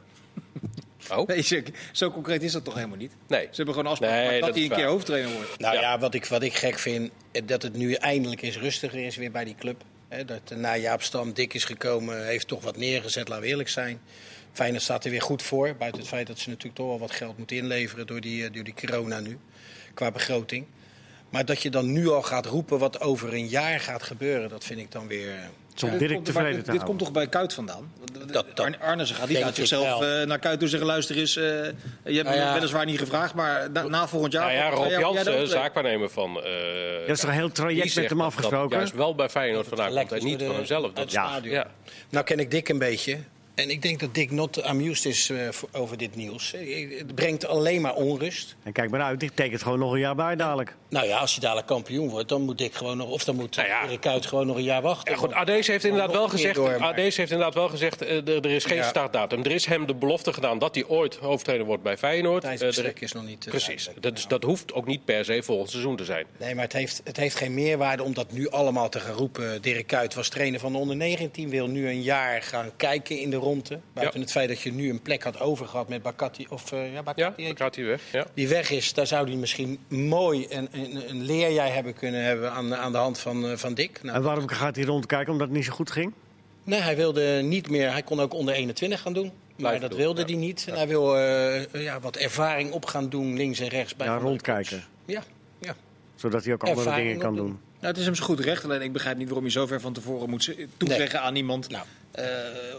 [SPEAKER 1] oh,
[SPEAKER 3] Nee, zo- zo concreet is dat toch helemaal niet?
[SPEAKER 1] nee.
[SPEAKER 3] Ze hebben gewoon afspraken
[SPEAKER 1] Nee,
[SPEAKER 3] gemaakt dat,
[SPEAKER 1] dat
[SPEAKER 3] hij
[SPEAKER 1] is
[SPEAKER 3] een keer
[SPEAKER 1] waar.
[SPEAKER 3] hoofdtrainer wordt.
[SPEAKER 4] Nou
[SPEAKER 1] Ja.
[SPEAKER 4] ja, wat, ik, wat ik gek vind, eh, dat het nu eindelijk eens rustiger is weer bij die club. Hè, dat eh, na Jaap Stam dik is gekomen, heeft toch wat neergezet, laten we eerlijk zijn. Feyenoord staat er weer goed voor, buiten het feit dat ze natuurlijk toch wel wat geld moeten inleveren door die, eh, door die corona nu, qua begroting. Maar dat je dan nu al gaat roepen wat over een jaar gaat gebeuren, dat vind ik dan weer...
[SPEAKER 1] Nou,
[SPEAKER 4] eh,
[SPEAKER 2] Het is om
[SPEAKER 3] Dit
[SPEAKER 2] Dirk
[SPEAKER 3] komt- maar
[SPEAKER 2] tevreden
[SPEAKER 3] dit,
[SPEAKER 2] te
[SPEAKER 3] dit
[SPEAKER 2] houden.
[SPEAKER 3] komt toch bij Kuit vandaan?
[SPEAKER 4] dat-
[SPEAKER 3] Arne Arnissen gaat niet
[SPEAKER 4] denk
[SPEAKER 3] uit
[SPEAKER 4] ik
[SPEAKER 3] zichzelf
[SPEAKER 4] wel.
[SPEAKER 3] eh, naar Kuit toe zeggen: luister eens, eh, je hebt
[SPEAKER 4] Nou ja.
[SPEAKER 3] me weliswaar niet gevraagd, maar na, na volgend jaar.
[SPEAKER 1] Nou ja,
[SPEAKER 3] over
[SPEAKER 1] Rob
[SPEAKER 3] twee jaar word jij de
[SPEAKER 1] Jansen,
[SPEAKER 3] hoofdtrainer.
[SPEAKER 1] zaakwaarnemer van... eh,
[SPEAKER 2] Dat is toch een heel
[SPEAKER 1] die
[SPEAKER 2] traject met
[SPEAKER 1] zegt
[SPEAKER 2] hem
[SPEAKER 1] dat- dat
[SPEAKER 2] afgesproken?
[SPEAKER 1] Juist wel bij Feyenoord vandaan komt
[SPEAKER 4] Lek
[SPEAKER 1] en
[SPEAKER 4] is
[SPEAKER 1] niet
[SPEAKER 4] door
[SPEAKER 1] van
[SPEAKER 4] de-
[SPEAKER 1] hemzelf.
[SPEAKER 4] uit
[SPEAKER 1] Dat,
[SPEAKER 4] het
[SPEAKER 2] Ja.
[SPEAKER 4] stadion.
[SPEAKER 1] ja.
[SPEAKER 4] Nou ken ik Dick een beetje. En ik denk dat Dick not amused is eh, voor- over dit nieuws. Eh, Het brengt alleen maar onrust.
[SPEAKER 2] En kijk maar uit, dit tekent gewoon nog een jaar bij dadelijk.
[SPEAKER 4] Nou ja, als je dadelijk kampioen wordt, dan moet Dick gewoon nog... of dan moet
[SPEAKER 1] Nou ja.
[SPEAKER 4] Erik Kuyt gewoon nog een jaar wachten.
[SPEAKER 1] Ja, goed, Adees heeft inderdaad
[SPEAKER 4] nog
[SPEAKER 1] wel
[SPEAKER 4] een keer
[SPEAKER 1] gezegd,
[SPEAKER 4] door, maar-
[SPEAKER 1] Adees heeft inderdaad wel gezegd eh, er, er is geen
[SPEAKER 4] Ja.
[SPEAKER 1] startdatum. Er is hem de belofte gedaan dat hij ooit hoofdtrainer wordt bij Feyenoord.
[SPEAKER 4] Tijdens
[SPEAKER 1] Eh,
[SPEAKER 4] het
[SPEAKER 1] er-
[SPEAKER 4] vertrek is nog niet... eh,
[SPEAKER 1] Precies,
[SPEAKER 4] duidelijk.
[SPEAKER 1] dat, is- dat hoeft ook niet per se volgend seizoen te zijn.
[SPEAKER 4] Nee, maar het heeft, het heeft geen meerwaarde om dat nu allemaal te gaan roepen. Dirk Kuyt was trainer van de onder 19, wil nu een jaar gaan kijken in de ronde. Buiten
[SPEAKER 1] Ja.
[SPEAKER 4] het feit dat je nu een plek had overgehad met Bakati. Of, eh, ja, Bakati
[SPEAKER 1] Ja,
[SPEAKER 4] heet
[SPEAKER 1] dan
[SPEAKER 4] hij.
[SPEAKER 1] gaat hij weg. Ja.
[SPEAKER 4] die weg is, daar zou hij misschien mooi een, een, een leerjaar hebben kunnen hebben aan, aan de hand van, eh, van Dick. Nou,
[SPEAKER 2] En waarom gaat hij rondkijken? Omdat het niet zo goed ging?
[SPEAKER 4] nee, hij wilde niet meer, hij kon ook onder 21 gaan doen. Maar
[SPEAKER 1] Blijven
[SPEAKER 4] dat
[SPEAKER 1] doen,
[SPEAKER 4] wilde
[SPEAKER 1] ja.
[SPEAKER 4] hij niet. En hij wil eh, ja, wat ervaring op gaan doen, links en rechts. Bij
[SPEAKER 2] Ja,
[SPEAKER 4] andere
[SPEAKER 2] rondkijken.
[SPEAKER 4] clubs. Ja, ja.
[SPEAKER 2] Zodat hij ook andere
[SPEAKER 4] Ervaring
[SPEAKER 2] dingen kan
[SPEAKER 4] opdoen.
[SPEAKER 2] doen.
[SPEAKER 3] Nou, het is hem zo goed recht. Alleen ik begrijp niet waarom je zo ver van tevoren moet ze- toezeggen aan iemand.
[SPEAKER 4] Nou.
[SPEAKER 3] Eh,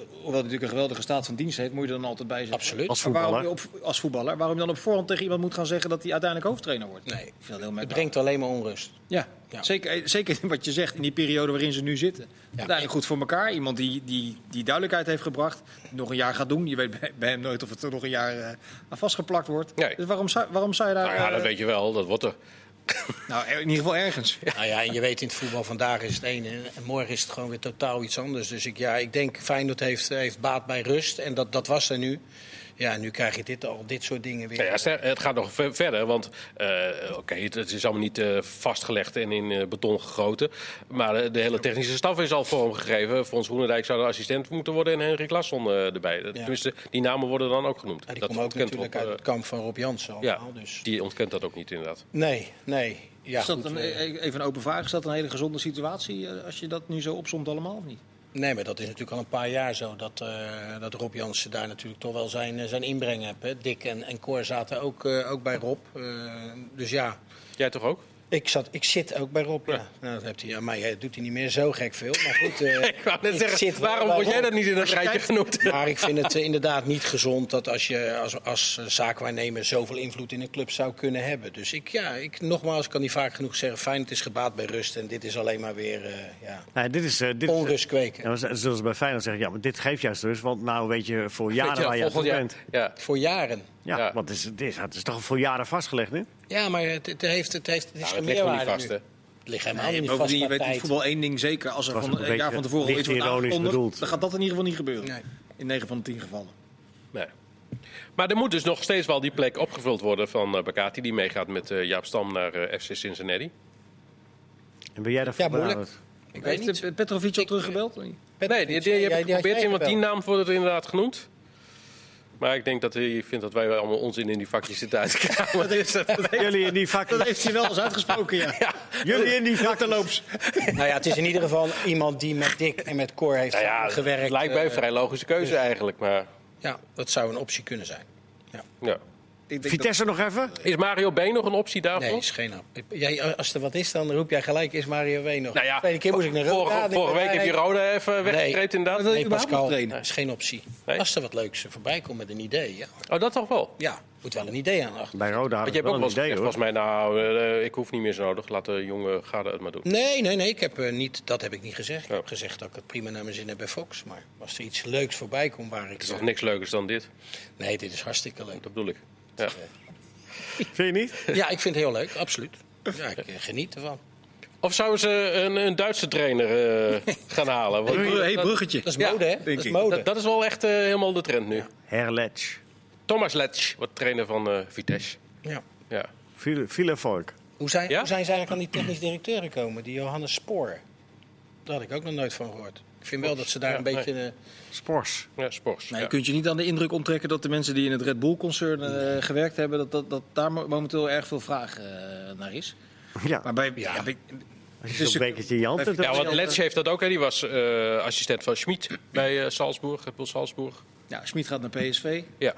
[SPEAKER 3] hoewel hij natuurlijk een geweldige staat van dienst heeft, moet je er dan altijd bij zijn.
[SPEAKER 4] Absoluut.
[SPEAKER 2] Als
[SPEAKER 3] Maar waarom
[SPEAKER 2] voetballer.
[SPEAKER 3] je op- als voetballer. Waarom je dan op voorhand tegen iemand moet gaan zeggen dat hij uiteindelijk hoofdtrainer wordt?
[SPEAKER 4] Nee.
[SPEAKER 3] Ik vind dat heel
[SPEAKER 4] Het
[SPEAKER 3] merkwaardig.
[SPEAKER 4] brengt alleen maar onrust.
[SPEAKER 3] Ja,
[SPEAKER 4] Ja.
[SPEAKER 3] Zeker, eh, zeker [laughs] wat je zegt in die periode waarin ze nu zitten. Uiteindelijk goed voor elkaar. Iemand die, die, die duidelijkheid heeft gebracht. die Nog een jaar gaat doen. Je weet bij, bij hem nooit of het er nog een jaar eh, aan vastgeplakt wordt.
[SPEAKER 1] Nee.
[SPEAKER 3] Dus waarom zou, waarom zou je daar...
[SPEAKER 1] Nou ja, dat
[SPEAKER 3] eh,
[SPEAKER 1] weet je wel, dat wordt er.
[SPEAKER 3] nou, in ieder geval ergens.
[SPEAKER 4] Nou ja, en je weet in het voetbal vandaag is het ene en morgen is het gewoon weer totaal iets anders. Dus ik, ja, ik denk Feyenoord heeft, heeft baat bij rust en dat, dat was er nu. Ja, nu krijg je dit al, dit soort dingen weer.
[SPEAKER 1] Nou ja, ster- het gaat nog ver- verder, want eh, oké, het, het is allemaal niet eh, vastgelegd en in eh, beton gegoten. Maar eh, de hele technische staf is al vormgegeven. Frans Groenendijk zou de assistent moeten worden en Henrik Lasson eh, erbij. Tenminste, die namen worden dan ook genoemd.
[SPEAKER 4] Maar die komt ook
[SPEAKER 1] ontkent
[SPEAKER 4] natuurlijk
[SPEAKER 1] Rob,
[SPEAKER 4] uit het
[SPEAKER 1] eh,
[SPEAKER 4] kamp van Rob Jansen
[SPEAKER 1] ja,
[SPEAKER 4] allemaal. Dus.
[SPEAKER 1] die ontkent dat ook niet inderdaad.
[SPEAKER 4] Nee, nee. Ja,
[SPEAKER 3] is dat
[SPEAKER 4] goed,
[SPEAKER 3] een,
[SPEAKER 4] eh,
[SPEAKER 3] e- even een open vraag. Is dat een hele gezonde situatie eh, als je dat nu zo opzomt allemaal of niet?
[SPEAKER 4] nee, maar dat is natuurlijk al een paar jaar zo. Dat, eh, dat Rob Jansen daar natuurlijk toch wel zijn, eh, zijn inbreng heeft. Hè. Dick en, en Cor zaten ook, eh, ook bij Rob. Eh, dus ja,
[SPEAKER 1] Jij toch ook?
[SPEAKER 4] ik, zat, ik zit ook bij Rob. Ja. Nou, dat heeft hij, ja, maar dat doet hij niet meer zo gek veel. Maar
[SPEAKER 1] [laughs]
[SPEAKER 4] goed,
[SPEAKER 1] [laughs]
[SPEAKER 4] eh,
[SPEAKER 1] Ik wou net
[SPEAKER 4] ik
[SPEAKER 1] zeggen,
[SPEAKER 4] zit wel
[SPEAKER 1] waarom
[SPEAKER 4] bij
[SPEAKER 1] word jij
[SPEAKER 4] Rob.
[SPEAKER 1] dat niet in dat rijtje genoemd?
[SPEAKER 4] Maar ik vind het eh, inderdaad niet gezond dat als je als, als eh, zaakwaarnemer zoveel invloed in een club zou kunnen hebben. Dus ik, ja, ik nogmaals kan niet vaak genoeg zeggen, fijn, het is gebaat bij rust. En dit is alleen maar weer eh, ja,
[SPEAKER 2] Nee, dit is, eh, dit is-
[SPEAKER 4] onrust kweken.
[SPEAKER 2] Ja, maar ze- zoals ze bij Feyenoord zeggen, ja, maar dit geeft juist rust. Want nou weet je voor jaren
[SPEAKER 1] Weet je,
[SPEAKER 2] waar je aan toe
[SPEAKER 1] volgend jaar-
[SPEAKER 2] bent.
[SPEAKER 1] Ja.
[SPEAKER 4] Voor jaren.
[SPEAKER 2] Ja,
[SPEAKER 1] Ja.
[SPEAKER 2] want het is, het, is, het is toch voor jaren vastgelegd nu?
[SPEAKER 4] Ja, maar het, het heeft, het, heeft, het is
[SPEAKER 1] Nou,
[SPEAKER 4] geen
[SPEAKER 1] het ligt nog niet
[SPEAKER 4] meerwaarde
[SPEAKER 1] vast, hè?
[SPEAKER 4] nu. Het ligt helemaal
[SPEAKER 3] Nee,
[SPEAKER 4] niet vast
[SPEAKER 3] bovendien, je
[SPEAKER 4] qua
[SPEAKER 3] weet in
[SPEAKER 4] tijd.
[SPEAKER 3] voetbal één ding zeker. Als er
[SPEAKER 2] was
[SPEAKER 3] van
[SPEAKER 2] ook
[SPEAKER 3] een
[SPEAKER 2] een
[SPEAKER 3] jaar
[SPEAKER 2] beetje
[SPEAKER 3] van tevoren
[SPEAKER 2] licht
[SPEAKER 3] iets wordt
[SPEAKER 2] ironisch bedoeld.
[SPEAKER 3] aangekondigd, dan gaat dat in ieder geval niet gebeuren.
[SPEAKER 4] Nee.
[SPEAKER 3] In 9 van de 10 gevallen.
[SPEAKER 1] Nee. Maar er moet dus nog steeds wel die plek opgevuld worden van eh Bakati, die meegaat met eh, Jaap Stam naar eh, FC Cincinnati.
[SPEAKER 2] En ben jij daarvoor
[SPEAKER 4] Ja, moeilijk.
[SPEAKER 2] [laughs] benaderd?
[SPEAKER 4] Ik weet
[SPEAKER 3] Heeft
[SPEAKER 4] niet.
[SPEAKER 3] eh, Petrovic al teruggebeld?
[SPEAKER 1] Nee, die, die heb
[SPEAKER 4] jij-
[SPEAKER 1] ik
[SPEAKER 4] die had
[SPEAKER 1] geprobeerd.
[SPEAKER 4] jij
[SPEAKER 1] want die
[SPEAKER 4] gebeld.
[SPEAKER 1] naam wordt er inderdaad genoemd. Maar ik denk dat hij vindt dat wij allemaal onzin in die vakjes zitten uit te
[SPEAKER 4] [laughs]
[SPEAKER 1] kramen. Dus dat-
[SPEAKER 2] Jullie in die
[SPEAKER 3] [laughs]
[SPEAKER 2] vakjes.
[SPEAKER 3] Dat heeft hij wel eens uitgesproken, ja.
[SPEAKER 2] Jullie
[SPEAKER 3] [laughs]
[SPEAKER 2] in die vakjes.
[SPEAKER 4] Nou ja, het is in ieder geval iemand die met Dick en met Cor heeft
[SPEAKER 1] nou ja,
[SPEAKER 4] gewerkt.
[SPEAKER 1] het lijkt mij een
[SPEAKER 4] eh,
[SPEAKER 1] vrij logische keuze eigenlijk. Maar,
[SPEAKER 4] ja, dat zou een optie kunnen zijn.
[SPEAKER 1] ja.
[SPEAKER 3] Ik denk dat-
[SPEAKER 2] Vitesse nog even?
[SPEAKER 1] Is Mario Been nog een optie daarvoor?
[SPEAKER 4] Nee, is geen hap. Jij, als er wat is, dan roep jij gelijk, is Mario Ween nog?
[SPEAKER 1] Nou ja,
[SPEAKER 4] Tweede keer moest ik naar Roda.
[SPEAKER 1] vorige,
[SPEAKER 4] denk ik,
[SPEAKER 1] vorige week
[SPEAKER 4] nee,
[SPEAKER 1] heb je Roda even weggetreed inderdaad.
[SPEAKER 3] Wil je
[SPEAKER 4] Nee,
[SPEAKER 3] überhaupt
[SPEAKER 4] Pascal,
[SPEAKER 3] nog trainen?
[SPEAKER 4] dat is geen optie.
[SPEAKER 1] Nee?
[SPEAKER 4] Als er wat leuks voorbij komt met een idee, ja.
[SPEAKER 1] Oh, dat toch wel?
[SPEAKER 4] Ja, moet wel een idee aan achter.
[SPEAKER 2] Bij Roda had
[SPEAKER 1] Want
[SPEAKER 2] ik
[SPEAKER 1] je hebt
[SPEAKER 2] wel
[SPEAKER 1] ook wel
[SPEAKER 2] een
[SPEAKER 1] eens
[SPEAKER 2] idee
[SPEAKER 1] gezegd,
[SPEAKER 2] hoor.
[SPEAKER 1] volgens mij, nou, eh, ik hoef niet meer zo nodig. Laat de jongen, ga het maar doen.
[SPEAKER 4] Nee, nee, nee, ik heb, eh, niet, dat heb ik niet gezegd. Ik
[SPEAKER 1] Ja.
[SPEAKER 4] heb gezegd dat ik het prima naar mijn zin heb bij Fox. Maar als er iets leuks voorbij komt waar ik... eh,
[SPEAKER 1] Het is toch niks leukers dan dit?
[SPEAKER 4] Nee, dit is hartstikke leuk.
[SPEAKER 1] Dat bedoel ik. Ja.
[SPEAKER 2] Vind je niet?
[SPEAKER 4] Ja, ik vind het heel leuk, absoluut. Ja, ik eh, geniet ervan.
[SPEAKER 1] Of zouden ze een, een Duitse trainer eh,
[SPEAKER 3] [laughs]
[SPEAKER 1] gaan halen? Want
[SPEAKER 3] Hey, Hey,
[SPEAKER 1] dat-
[SPEAKER 3] bruggetje.
[SPEAKER 4] Dat is
[SPEAKER 1] Ja,
[SPEAKER 4] mode, hè?
[SPEAKER 3] denk
[SPEAKER 4] Dat is
[SPEAKER 3] ik.
[SPEAKER 4] mode.
[SPEAKER 1] dat, dat is wel echt eh, helemaal de trend nu.
[SPEAKER 2] Herletsch.
[SPEAKER 1] Thomas Letsch wordt trainer van eh, Vitesse.
[SPEAKER 4] Ja.
[SPEAKER 1] Ja.
[SPEAKER 2] File- Filevork.
[SPEAKER 4] Hoe zijn,
[SPEAKER 1] Ja?
[SPEAKER 4] hoe zijn ze eigenlijk aan die technisch directeur gekomen? Die Johannes Spoor. Daar had ik ook nog nooit van gehoord. Ik vind wel dat ze daar
[SPEAKER 1] Ja,
[SPEAKER 4] een beetje... eh,
[SPEAKER 2] Spors.
[SPEAKER 1] ja, Spors.
[SPEAKER 3] Nee,
[SPEAKER 1] ja.
[SPEAKER 3] je kunt je niet aan de indruk onttrekken dat de mensen die in het Red Bull-concern eh, gewerkt hebben, dat, dat, dat daar mo- momenteel erg veel vraag eh, naar is.
[SPEAKER 2] Ja,
[SPEAKER 3] Maar dus bij, ja, bij-
[SPEAKER 2] als
[SPEAKER 3] het
[SPEAKER 2] je
[SPEAKER 3] is
[SPEAKER 2] zo'n
[SPEAKER 3] natuurlijk-
[SPEAKER 2] bekertje in je hand hebt.
[SPEAKER 1] Ja,
[SPEAKER 2] dan-
[SPEAKER 1] want Letsch heeft dat ook. Hè. Die was eh, assistent van Schmid bij eh Salzburg, Red Bull Salzburg.
[SPEAKER 3] ja, Schmid gaat naar PSV.
[SPEAKER 1] Ja.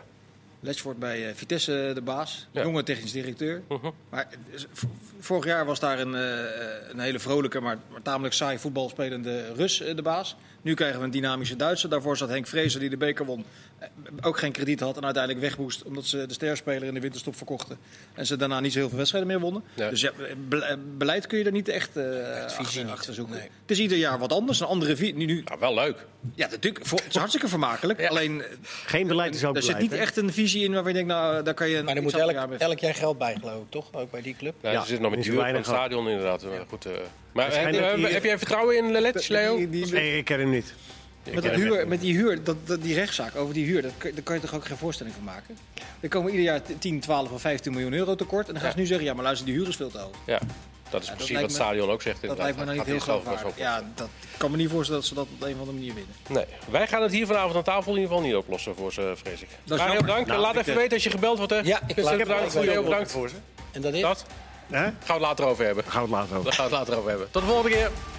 [SPEAKER 3] Letchford bij eh, Vitesse de baas,
[SPEAKER 1] Ja.
[SPEAKER 3] jonge technisch directeur.
[SPEAKER 1] Mhm.
[SPEAKER 3] Maar het is- v- vorig jaar was daar een, eh, een hele vrolijke, maar, maar tamelijk saai voetbalspelende Rus eh, de baas. Nu krijgen we een dynamische Duitser. Daarvoor zat Henk Vrezer die de beker won. eh, Ook geen krediet had en uiteindelijk weg moest omdat ze de sterspeler in de winterstop verkochten. En ze daarna niet zo heel veel wedstrijden meer wonnen.
[SPEAKER 1] Nee.
[SPEAKER 3] Dus ja, be- eh, beleid kun je er niet echt eh
[SPEAKER 4] visie
[SPEAKER 3] achter,
[SPEAKER 4] niet.
[SPEAKER 3] achter zoeken.
[SPEAKER 4] Nee.
[SPEAKER 3] Het is ieder jaar wat anders, een andere visie. Nu, nu,
[SPEAKER 1] Nou, wel leuk.
[SPEAKER 3] ja, natuurlijk, voor- het is hartstikke vermakelijk. Alleen eh,
[SPEAKER 2] Geen beleid is ook
[SPEAKER 3] er zit
[SPEAKER 2] beleid.
[SPEAKER 3] niet
[SPEAKER 2] hè?
[SPEAKER 3] echt een visie in waar je denkt, nou, daar kan je
[SPEAKER 4] Maar er
[SPEAKER 3] iets
[SPEAKER 4] moet
[SPEAKER 3] ander
[SPEAKER 4] elk,
[SPEAKER 3] jaar mee-
[SPEAKER 4] elk jaar geld bij, geloof ik, toch? Ook bij die club.
[SPEAKER 1] Nou,
[SPEAKER 2] Ja,
[SPEAKER 1] ze zitten nog met
[SPEAKER 2] is
[SPEAKER 1] die huur van
[SPEAKER 2] weinig
[SPEAKER 1] het stadion inderdaad. eh, Goed, eh. Maar heb,
[SPEAKER 2] Waarschijnlijk
[SPEAKER 1] heb-
[SPEAKER 2] die-
[SPEAKER 1] heb jij vertrouwen in Letch, Leo?
[SPEAKER 3] Die- die-
[SPEAKER 2] Nee, ik ken hem niet.
[SPEAKER 3] met, dat
[SPEAKER 1] ken hem
[SPEAKER 3] huur, met die huur, dat, dat- die rechtszaak over die huur, dat, kun- daar kan je toch ook geen voorstelling van maken? Er komen ieder jaar 10, 12 of 15 miljoen euro tekort. En dan gaan ze nu zeggen, ja, maar luister, die huur is veel te hoog.
[SPEAKER 1] Ja, dat is
[SPEAKER 3] dat
[SPEAKER 1] precies
[SPEAKER 3] lijkt
[SPEAKER 1] wat het
[SPEAKER 3] me-
[SPEAKER 1] stadion ook zegt.
[SPEAKER 3] Dat
[SPEAKER 1] inderdaad.
[SPEAKER 3] lijkt me nou niet
[SPEAKER 1] Gaat
[SPEAKER 3] heel
[SPEAKER 1] eerst over,
[SPEAKER 3] geloofwaardig.
[SPEAKER 1] maar zo
[SPEAKER 3] Ja, dat kan me niet voorstellen dat ze dat op de een of andere manier winnen.
[SPEAKER 1] komt. Nee. Wij gaan het hier vanavond aan tafel in ieder geval niet oplossen voor ze, vrees ik.
[SPEAKER 3] is
[SPEAKER 1] Mario,
[SPEAKER 3] jammer.
[SPEAKER 1] dank.
[SPEAKER 2] Nou,
[SPEAKER 1] Laat
[SPEAKER 2] ik,
[SPEAKER 1] even
[SPEAKER 2] eh,
[SPEAKER 1] weten als je gebeld wordt, hè?
[SPEAKER 4] Ja, ik
[SPEAKER 1] Vincent,
[SPEAKER 4] laat-
[SPEAKER 1] bedankt.
[SPEAKER 4] ik laat-
[SPEAKER 1] Leo, bedankt.
[SPEAKER 2] voor ze.
[SPEAKER 4] En dat is...
[SPEAKER 1] Dat
[SPEAKER 2] Hè?
[SPEAKER 1] gaan we het later over hebben.
[SPEAKER 2] Gaan we het later over.
[SPEAKER 1] Daar gaan we het later over hebben. Tot de volgende keer.